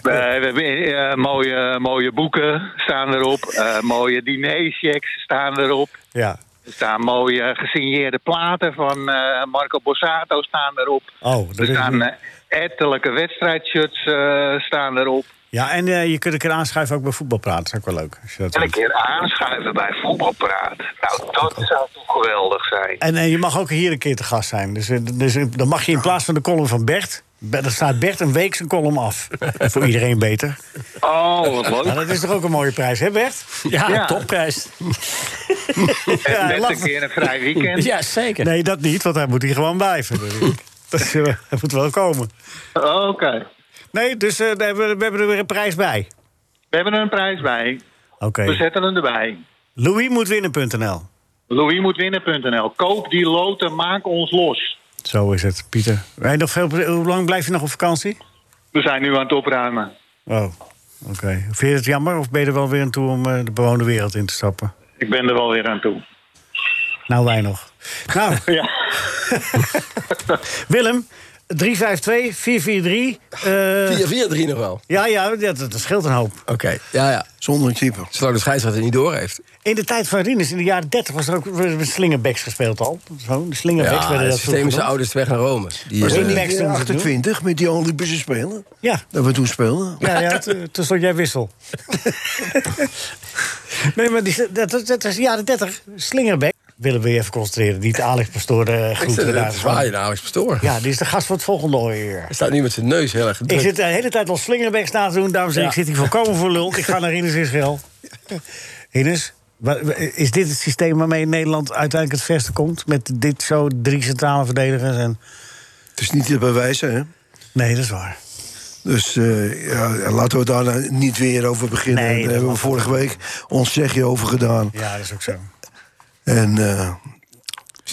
Speaker 7: we hebben eh, mooie, mooie boeken staan erop. eh, mooie dinerchecks staan erop.
Speaker 3: Ja.
Speaker 7: Er staan mooie gesigneerde platen van eh, Marco Borsato staan erop.
Speaker 3: Oh, dat
Speaker 7: er
Speaker 3: is-
Speaker 7: staan eh, ettelijke wedstrijdshirts eh, staan erop.
Speaker 3: Ja, en eh, je kunt een keer aanschuiven ook bij voetbalpraat. Dat is ook wel leuk. Als je dat
Speaker 7: En een
Speaker 3: doet.
Speaker 7: keer aanschuiven bij voetbalpraat. Nou, dat
Speaker 3: Oh.
Speaker 7: zou toch geweldig zijn.
Speaker 3: En eh, je mag ook hier een keer te gast zijn. Dus, eh, dus eh, dan mag je in plaats van de column van Bert... Be- Dan staat Bert een week zijn column af. Voor iedereen beter.
Speaker 7: Oh, wat
Speaker 3: Nou,
Speaker 7: leuk.
Speaker 3: dat is toch ook een mooie prijs, hè Bert?
Speaker 8: Ja,
Speaker 7: Ja.
Speaker 8: topprijs.
Speaker 3: Ja,
Speaker 7: En met
Speaker 3: lachen.
Speaker 7: een keer een vrij weekend.
Speaker 8: Ja, zeker.
Speaker 3: Nee, dat niet, want hij moet hier gewoon blijven. dat is, eh, hij moet wel komen.
Speaker 7: Oké.
Speaker 3: Nee, dus eh, daar hebben we, we hebben er weer een prijs bij.
Speaker 7: We hebben er een prijs bij.
Speaker 3: Oké.
Speaker 7: We zetten hem erbij.
Speaker 3: Louis moet winnen.nl.
Speaker 7: LouisMoetWinnen.nl. Koop die loten, maak ons los.
Speaker 3: Zo is het, Pieter. Wij nog veel, hoe lang blijf je nog op vakantie?
Speaker 7: We zijn nu aan het opruimen.
Speaker 3: Oh, oké. Vind je het jammer of ben je er wel weer aan toe om eh, de bewoonde wereld in te stappen?
Speaker 7: Ik ben er wel weer aan toe.
Speaker 3: Nou, wij nog. Nou,
Speaker 7: Ja.
Speaker 3: Willem, 352, 443. eh,
Speaker 5: 4-4-3 nog wel.
Speaker 3: ja, ja, dat, dat scheelt een hoop.
Speaker 5: Oké. Ja, ja.
Speaker 4: Zonder een keeper.
Speaker 5: Zolang de scheidsrechter niet door heeft.
Speaker 3: In de tijd van Rinus, in de jaren 30, was er ook werden er slingerbacks gespeeld al. Zo, de slingerbacks
Speaker 5: Ja,
Speaker 3: werden
Speaker 5: het
Speaker 3: dat vroeger
Speaker 5: systeem is de
Speaker 3: genoemd.
Speaker 5: ouders weg naar Rome. Die,
Speaker 4: Was
Speaker 5: eh,
Speaker 4: dat niet
Speaker 3: Wing backs
Speaker 4: eh,
Speaker 3: doen ze het nu?
Speaker 4: 28 met die Olympische Spelen?
Speaker 3: Ja.
Speaker 4: Dat we toen speelden.
Speaker 3: Ja, ja eh, toen, toen stond jij wissel. nee, maar die, dat, dat, dat is de jaren 30. Slingerbeck. Willen we je even concentreren? Niet de Alex Pastoor eh,
Speaker 5: ik zit
Speaker 3: groeten
Speaker 5: het
Speaker 3: daar.
Speaker 5: zwaaien naar Alex Pastoor.
Speaker 3: Ja, die is de gast voor het volgende uur.
Speaker 5: Hij staat nu met zijn neus heel erg
Speaker 3: Ik
Speaker 5: gedrukt.
Speaker 3: zit de hele tijd al slingerbeks na te doen, dames en heren. Ik zit hier volkomen voor lul. Ik ga naar Ines Israël. Ines, wa- wa- is dit het systeem waarmee Nederland uiteindelijk het verste komt? Met dit zo drie centrale verdedigers? En...
Speaker 4: Het is niet te bewijzen, hè?
Speaker 3: Nee, dat is waar.
Speaker 4: Dus eh, ja, laten we daar nou niet weer over beginnen.
Speaker 3: Nee, dat
Speaker 4: daar hebben we
Speaker 3: mag
Speaker 4: vorige week ons zegje over gedaan.
Speaker 3: Ja, dat is ook zo.
Speaker 4: En eh,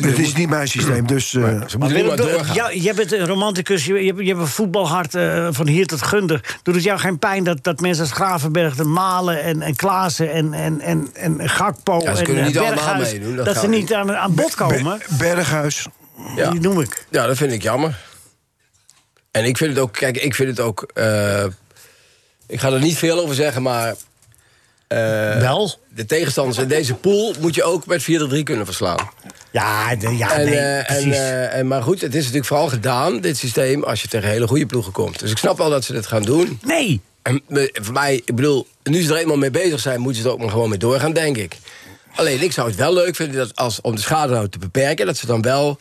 Speaker 4: het is niet mijn systeem, dus... eh,
Speaker 5: Ze moeten niet maar
Speaker 3: Willem, doe-
Speaker 5: doorgaan.
Speaker 3: jou- jij bent een romanticus, je, je, je hebt een voetbalhart eh, van hier tot gunder. Doet het jou geen pijn dat, dat mensen als Gravenberg, de Malen en, en Klaassen en, en, en, en Gakpo
Speaker 5: Ja, ze
Speaker 3: en
Speaker 5: kunnen
Speaker 3: eh,
Speaker 5: niet allemaal
Speaker 3: Berghuis,
Speaker 5: meedoen,
Speaker 3: dat,
Speaker 5: dat
Speaker 3: ze
Speaker 5: gaat
Speaker 3: niet
Speaker 5: niet.
Speaker 3: aan, aan bod komen?
Speaker 4: Be- Berghuis.
Speaker 5: Ja.
Speaker 3: Die noem ik.
Speaker 5: Ja, dat vind ik jammer. En ik vind het ook, kijk, ik vind het ook. eh, ik ga er niet veel over zeggen, maar eh,
Speaker 3: Wel?
Speaker 5: de tegenstanders in deze pool moet je ook met 4-3 kunnen verslaan.
Speaker 3: Ja, de- ja
Speaker 5: En,
Speaker 3: nee,
Speaker 5: eh, en,
Speaker 3: precies.
Speaker 5: eh, en, maar goed, het is natuurlijk vooral gedaan, dit systeem, als je tegen hele goede ploegen komt. Dus ik snap wel dat ze dit gaan doen.
Speaker 3: nee,
Speaker 5: En me- voor mij, ik bedoel, nu ze er eenmaal mee bezig zijn, moeten ze er ook maar gewoon mee doorgaan, denk ik. Alleen, ik zou het wel leuk vinden dat als, om de schade nou te beperken, dat ze dan wel,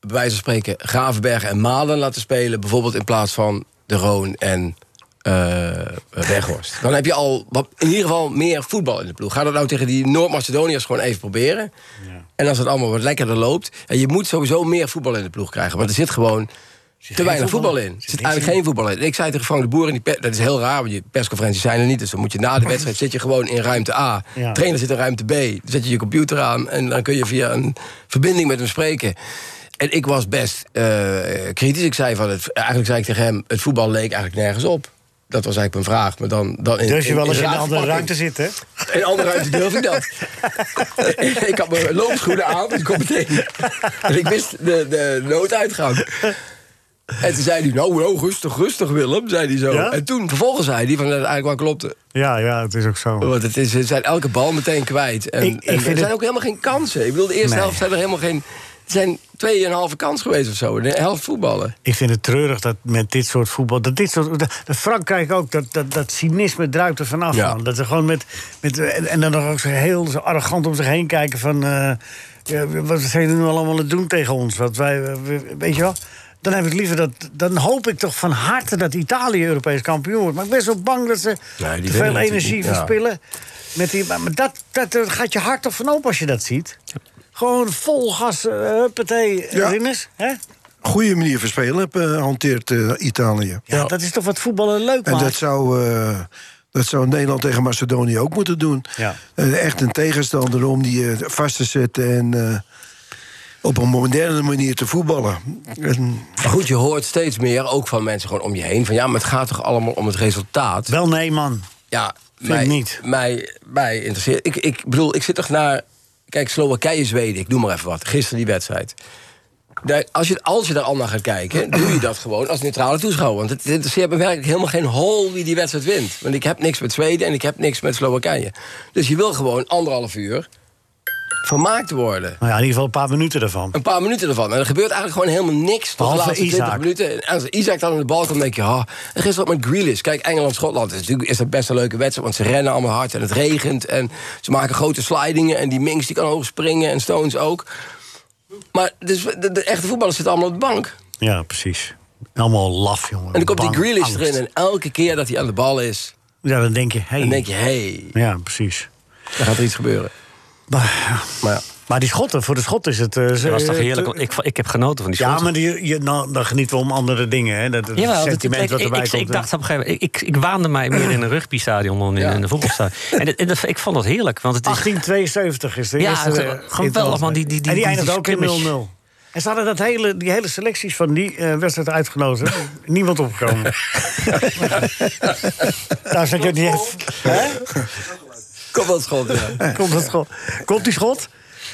Speaker 5: bij wijze van spreken, Gravenberg en Malen laten spelen. Bijvoorbeeld in plaats van De Roon en eh Weghorst. Dan heb je al wat, in ieder geval meer voetbal in de ploeg. Ga dat nou tegen die Noord-Macedoniërs gewoon even proberen. En als het allemaal wat lekkerder loopt. En je moet sowieso meer voetbal in de ploeg krijgen, want er zit gewoon. Te weinig
Speaker 3: voetbal
Speaker 5: voetbal,
Speaker 3: in?
Speaker 5: in. Er
Speaker 3: Zit
Speaker 5: zit
Speaker 3: niks in?
Speaker 5: eigenlijk geen voetbal in. Ik zei tegen Frank de Boer, in die per- dat is heel raar, want die persconferenties zijn er niet. Dus dan moet je na de wedstrijd zit je gewoon in ruimte A.
Speaker 3: Ja.
Speaker 5: Trainer zit in ruimte B. Dan zet je je computer aan en dan kun je via een verbinding met hem spreken. En ik was best eh, kritisch. Ik zei van het, eigenlijk zei ik tegen hem, het voetbal leek eigenlijk nergens op. Dat was eigenlijk mijn vraag. Maar dan, dan in,
Speaker 3: dus je wel eens in
Speaker 5: raar
Speaker 3: een andere
Speaker 5: verpakking.
Speaker 3: ruimte zitten. hè?
Speaker 5: In andere ruimte durf ik dat. ik had mijn loopschoenen aan, dus ik kon meteen. En ik wist de, de nooduitgang. En toen zei hij, nou, nou, rustig, rustig Willem, zei hij zo.
Speaker 3: Ja?
Speaker 5: En toen, vervolgens zei hij, van, dat het eigenlijk wel klopte.
Speaker 3: Ja, ja, het is ook zo.
Speaker 5: Oh, Want het is, ze zijn elke bal meteen kwijt. En,
Speaker 3: Ik- ik
Speaker 5: en
Speaker 3: vind
Speaker 5: er
Speaker 3: het-
Speaker 5: zijn ook helemaal geen kansen. Ik bedoel, de eerste
Speaker 3: Nee.
Speaker 5: helft zijn er helemaal geen... Er zijn tweeënhalve kans geweest of zo. De helft voetballen.
Speaker 3: Ik vind het treurig dat met dit soort voetbal. Dat dit soort, dat, dat Frankrijk ook, dat, dat, dat cynisme druipt er vanaf.
Speaker 5: Ja.
Speaker 3: man. Dat ze gewoon met, met. En en dan nog ook zo heel zo arrogant om zich heen kijken van. eh, ja, wat zijn jullie nu allemaal aan het doen tegen ons? Wat wij, eh, we- weet je wel? Dan heb ik liever dat. Dan hoop ik toch van harte dat Italië Europees kampioen wordt. Maar ik ben zo bang dat ze
Speaker 5: Nee, die
Speaker 3: te veel
Speaker 5: winnen
Speaker 3: energie
Speaker 5: natuurlijk, ja.
Speaker 3: verspillen. Met die, maar maar dat, dat, eh, gaat je hart toch van open als je dat ziet? Gewoon vol gas, eh, huppatee,
Speaker 4: Ja.
Speaker 3: Rinus. Hè?
Speaker 4: Goede manier van spelen heb, eh, hanteert eh, Italië.
Speaker 3: Ja, dat is toch wat voetballen leuk
Speaker 4: En
Speaker 3: maakt.
Speaker 4: dat zou, eh, dat zou Nederland tegen Macedonië ook moeten doen.
Speaker 3: Ja.
Speaker 4: Eh, echt een tegenstander om die eh, vast te zetten en eh, op een moderne manier te voetballen. En,
Speaker 5: Maar goed, je hoort steeds meer, ook van mensen gewoon om je heen... van ja, maar het gaat toch allemaal om het resultaat?
Speaker 3: Wel nee, man. Nou
Speaker 5: Ja,
Speaker 3: Vind ik niet.
Speaker 5: Mij, mij interesseert. Ik, ik bedoel, ik zit toch naar. Kijk, Slowakije, Zweden, ik noem maar even wat. Gisteren die wedstrijd. daar- als, je, als je daar al naar gaat kijken, doe je dat gewoon als neutrale toeschouwer. Want het interesseert me werkelijk helemaal geen hol wie die wedstrijd wint. Want ik heb niks met Zweden en ik heb niks met Slowakije. Dus je wil gewoon anderhalf uur vermaakt worden.
Speaker 3: Nou ja, in ieder geval een paar minuten ervan.
Speaker 5: Een paar minuten ervan. En er gebeurt eigenlijk gewoon helemaal niks. Tot de
Speaker 3: Behalve
Speaker 5: laatste 20
Speaker 3: Isaac.
Speaker 5: minuten. En als Isaac dan aan de bal komt, denk je... ah, en gisteren ook met Grealish. Kijk, Engeland-Schotland is, natuurlijk- is dat best een leuke wedstrijd. Want ze rennen allemaal hard en het regent. En ze maken grote slidingen. En die Minks die kan hoog springen. En Stones ook. Maar dus, de, de echte voetballers zitten allemaal op de bank.
Speaker 3: Ja, precies. Allemaal laf, jongen.
Speaker 5: En dan komt
Speaker 3: Bang,
Speaker 5: die Grealish
Speaker 3: angst.
Speaker 5: erin. En elke keer dat hij aan de bal is...
Speaker 3: Ja, dan denk je, hey.
Speaker 5: dan denk je, hé, hey,
Speaker 3: Ja, precies.
Speaker 5: daar gaat er iets gebeuren.
Speaker 3: Maar,
Speaker 5: Maar ja,
Speaker 3: maar die Schotten, voor de Schotten is het... eh, ze-
Speaker 6: Dat was toch
Speaker 3: eh,
Speaker 6: heerlijk? want Ik, ik heb genoten van die
Speaker 3: Ja,
Speaker 6: schoten.
Speaker 3: maar die, je, nou, dan genieten we om andere dingen. Hè. Dat, dat
Speaker 6: Jawel, dat-
Speaker 3: sentiment
Speaker 6: dat-
Speaker 3: wat
Speaker 6: ik,
Speaker 3: erbij
Speaker 6: ik,
Speaker 3: komt.
Speaker 6: ik dacht op een gegeven moment, ik, ik, ik waande mij meer in een rugbystadion dan in,
Speaker 5: Ja.
Speaker 6: in een voetbalstadion. En, het- en dat, ik vond dat heerlijk, want het is
Speaker 3: 1872 is de
Speaker 6: Ja,
Speaker 3: eerste.
Speaker 6: het-
Speaker 3: eh,
Speaker 6: geweldig,
Speaker 3: internationale.
Speaker 6: man, die- die- die-
Speaker 3: en die
Speaker 6: die-
Speaker 3: eindigt
Speaker 6: die
Speaker 3: ook in 0-0.
Speaker 6: skirmish.
Speaker 3: En ze hadden dat hele, die hele selecties van die eh, wedstrijd uitgenodigd. Niemand opgekomen. Daar zat je niet echt...
Speaker 5: kom wel schot. Ja.
Speaker 3: Komt, dat schot? Komt die schot?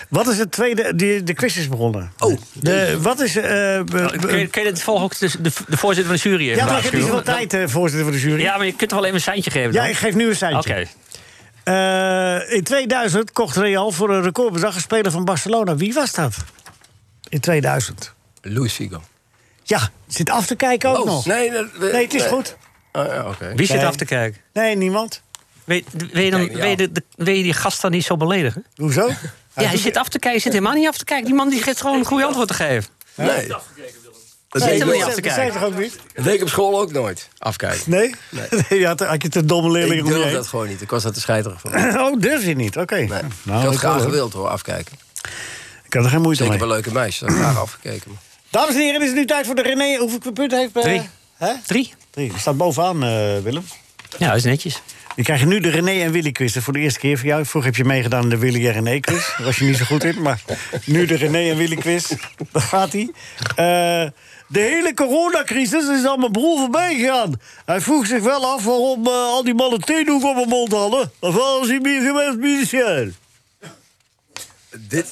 Speaker 3: Wat is het tweede... Die, de quiz is begonnen.
Speaker 5: Oh.
Speaker 3: De, wat is... eh, be- be-
Speaker 6: Kun je, kun je dit volgen ook tussen de, de voorzitter van de jury even
Speaker 3: ja, maar ik heb niet zoveel
Speaker 6: waarschuwen?
Speaker 3: tijd, eh, voorzitter van de jury.
Speaker 6: Ja, maar je kunt toch wel even een seintje geven
Speaker 3: Ja,
Speaker 6: dan?
Speaker 3: ik geef nu een
Speaker 6: Oké.
Speaker 3: seintje. Eh, in 2000 kocht Real voor een recordbedrag een speler van Barcelona. Wie was dat? In 2000.
Speaker 5: Luis Figo.
Speaker 3: Ja, zit af te kijken ook
Speaker 5: Oh,
Speaker 3: nog.
Speaker 5: nee, dat-
Speaker 3: Nee, het is goed.
Speaker 5: Ah, ja, oké.
Speaker 6: Wie zit
Speaker 3: Nee.
Speaker 6: af te kijken?
Speaker 3: Nee, niemand.
Speaker 6: Weet, wil je dan,
Speaker 5: Kijk, ja.
Speaker 6: wil je de- de- wil je die gast dan niet zo beledigen?
Speaker 3: Hoezo?
Speaker 6: Ja, je zit af te kijken, je zit helemaal niet af te kijken. Die man die geeft gewoon een goede antwoord te geven.
Speaker 5: Nee. Dat
Speaker 6: Nee,
Speaker 5: deed ik
Speaker 6: dat
Speaker 5: nooit.
Speaker 6: wil af te
Speaker 3: Dat
Speaker 6: kijken.
Speaker 3: zei toch ook niet?
Speaker 5: Dat deed ik op school ook nooit. Afkijken.
Speaker 3: Nee? nee. je had, had je te domme
Speaker 5: Ik
Speaker 3: leerlingen om je
Speaker 5: durf
Speaker 3: heen?
Speaker 5: dat gewoon niet. Ik was daar te scheiterig voor.
Speaker 3: Oh, durf je niet? Oké.
Speaker 5: Nee.
Speaker 3: Nou,
Speaker 5: ik had
Speaker 3: ik
Speaker 5: graag
Speaker 3: wel, hoor.
Speaker 5: gewild hoor, afkijken.
Speaker 3: Ik had er geen moeite
Speaker 5: Zeker
Speaker 3: mee.
Speaker 5: bij leuke meisjes. had ik graag afgekeken.
Speaker 3: Dames en heren, het is nu tijd voor de René. Hoeveel punten heeft... eh,
Speaker 6: Drie.
Speaker 3: Hè?
Speaker 6: Drie?
Speaker 3: Drie. Die staat bovenaan, eh, Willem.
Speaker 6: Ja, dat is netjes.
Speaker 3: Je krijgt nu de René en Willy quiz. Dat is Voor de eerste keer voor jou. Vroeger heb je meegedaan aan de Willy en René quiz. Daar was je niet zo goed in. Maar nu de René en Willy quiz. Daar gaat hij. Eh, de hele coronacrisis is aan mijn broer voorbij gegaan. Hij vroeg zich wel af waarom eh, al die mannen theedoek op hun mond hadden. Of was hij meer geweest musicien?
Speaker 5: Dit,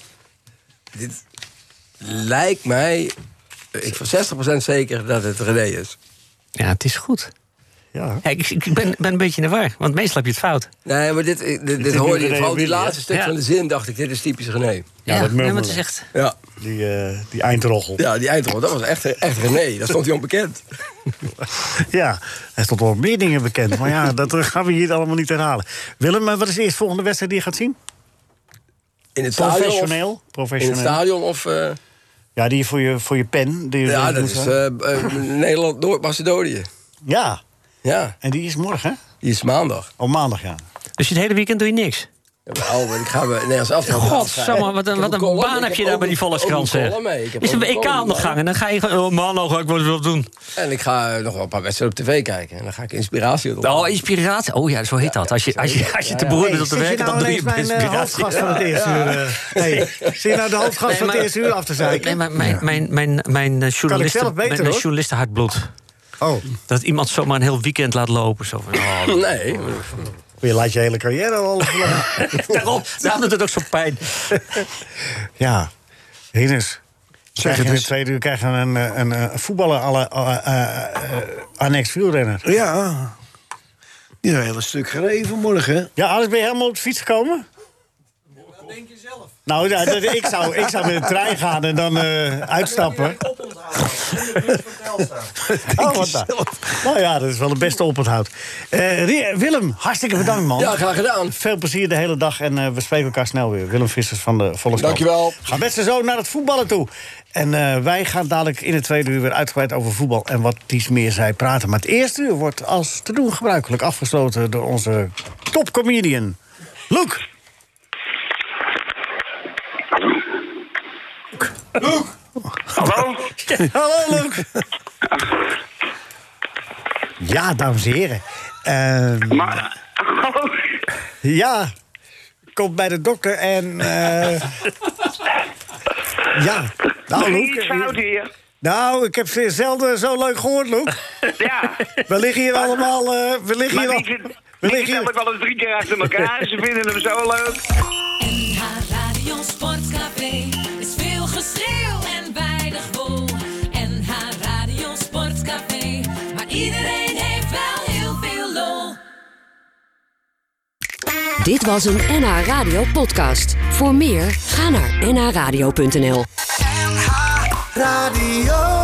Speaker 5: dit lijkt mij... Ik voor 60% zeker dat het René is.
Speaker 6: Ja, het is goed.
Speaker 3: Ja.
Speaker 6: Ja, ik ik ben, ben een beetje in de war, want meestal heb je het fout.
Speaker 5: Nee, maar dit, dit, dit, hoorde
Speaker 3: René
Speaker 5: je. Vooral die
Speaker 3: Willy, hè?
Speaker 5: laatste stuk
Speaker 6: Ja.
Speaker 5: van de zin dacht ik, dit is typisch René.
Speaker 3: Ja, dat
Speaker 6: nee, maar het
Speaker 3: murmelen.
Speaker 6: is echt...
Speaker 5: Ja,
Speaker 3: Die, eh, die eindroggel. Ja.
Speaker 5: ja die eindrol, dat was echt, echt René. Dat stond hij onbekend.
Speaker 3: hij stond wel meer dingen bekend. Maar ja, dat gaan we hier allemaal niet herhalen. Willem, eh, wat is de eerste volgende wedstrijd die je gaat zien?
Speaker 5: In het stadion of-
Speaker 3: Professioneel?
Speaker 5: In het
Speaker 3: Professioneel.
Speaker 5: stadion of... eh,
Speaker 3: Ja, die voor je, voor je pen. Die
Speaker 5: ja,
Speaker 3: die
Speaker 5: dat
Speaker 3: moet
Speaker 5: is
Speaker 3: zijn.
Speaker 5: eh, eh, Nederland-Noord-Macedonië.
Speaker 3: Ja,
Speaker 5: Ja,
Speaker 3: en die is morgen, hè?
Speaker 5: die is maandag.
Speaker 3: Op maandag, ja.
Speaker 6: Dus het hele weekend doe je niks?
Speaker 5: Ja, maar Albert, ik ga me Nederlands af.
Speaker 6: Godsamme, wat een, wat een baan heb je daar bij die Volkskrant, zeg. Is
Speaker 5: een
Speaker 6: een WK aan de gang en dan ga je... gewoon, Oh man, nou ga ik wel wat doen.
Speaker 5: En ik ga eh, nog wel een paar wedstrijden op tv kijken. En dan ga ik inspiratie doen.
Speaker 6: Oh, inspiratie. Oh ja, zo heet dat. Als je, als je, als je te beroerd bent om te
Speaker 3: zit je
Speaker 6: werken,
Speaker 3: nou
Speaker 6: dan doe je
Speaker 3: ineens mijn eh,
Speaker 6: inspiratie.
Speaker 3: hoofdgast van het eerste uur... eh, hey, zit je nou de hoofdgast
Speaker 6: Nee,
Speaker 3: van het
Speaker 6: maar-
Speaker 3: eerste uur af te zijn?
Speaker 6: Nee, maar mijn, mijn, mijn, mijn, eh,
Speaker 3: zelf
Speaker 6: journalisten,
Speaker 3: beter,
Speaker 6: mijn eh,
Speaker 3: hoor.
Speaker 6: journalisten hartbloed.
Speaker 3: Oh,
Speaker 6: Dat iemand zomaar een heel weekend laat lopen. Zo van, oh,
Speaker 5: Nee,
Speaker 3: je laat je hele carrière al verloren.
Speaker 6: daarom, daarom doet het ook zo pijn.
Speaker 3: Ja, Hines. Zeg
Speaker 4: het
Speaker 3: het in de
Speaker 4: eens.
Speaker 3: tweede uur krijg je een, eh, een, eh, voetballer alle eh, eh, eh, annex wielrenner.
Speaker 4: Ja. Die een hele stuk gereden vanmorgen. hè?
Speaker 3: Ja, Alex, ben je helemaal op de fiets gekomen? Wat denk je zelf? Nou, ja, dat- ik, zou, ik zou met de trein gaan en dan eh, uitstappen. Oh, wat nou. nou ja, dat is wel het beste oponthoud. Eh, Rie- Willem, hartstikke bedankt, man.
Speaker 5: Ja, graag gedaan.
Speaker 3: Veel plezier de hele dag en eh, we spreken elkaar snel weer. Willem Vissers van de Volkskrant.
Speaker 5: Dankjewel.
Speaker 3: Ga met z'n zo naar het voetballen toe. En eh, wij gaan dadelijk in het tweede uur weer uitgebreid over voetbal... en wat iets meer zij praten. Maar het eerste uur wordt als te doen gebruikelijk afgesloten... door onze topcomedian, Luke.
Speaker 8: Hallo?
Speaker 3: Hallo, Luke. Ja, dames en heren. Ehm,
Speaker 8: Maar, hallo?
Speaker 3: ja, komt bij de dokter en... eh, ja, nou,
Speaker 8: Er ging iets
Speaker 3: Luke.
Speaker 8: fout hier.
Speaker 3: Nou, ik heb ze zelden zo leuk gehoord, Loek.
Speaker 8: Ja.
Speaker 3: We liggen hier allemaal... eh, we liggen
Speaker 8: Maar
Speaker 3: hier
Speaker 8: die
Speaker 3: al...
Speaker 8: zit,
Speaker 3: We liggen
Speaker 8: die zit
Speaker 3: hier...
Speaker 8: namelijk wel eens drie keer achter elkaar. Ze vinden hem zo leuk.
Speaker 1: NH Radio Sportcafé is veel geschreeuw en weinig
Speaker 9: Iedereen heeft wel heel veel lol.
Speaker 1: Dit was een NH Radio podcast. Voor meer, ga naar nhradio.nl.
Speaker 3: Radio.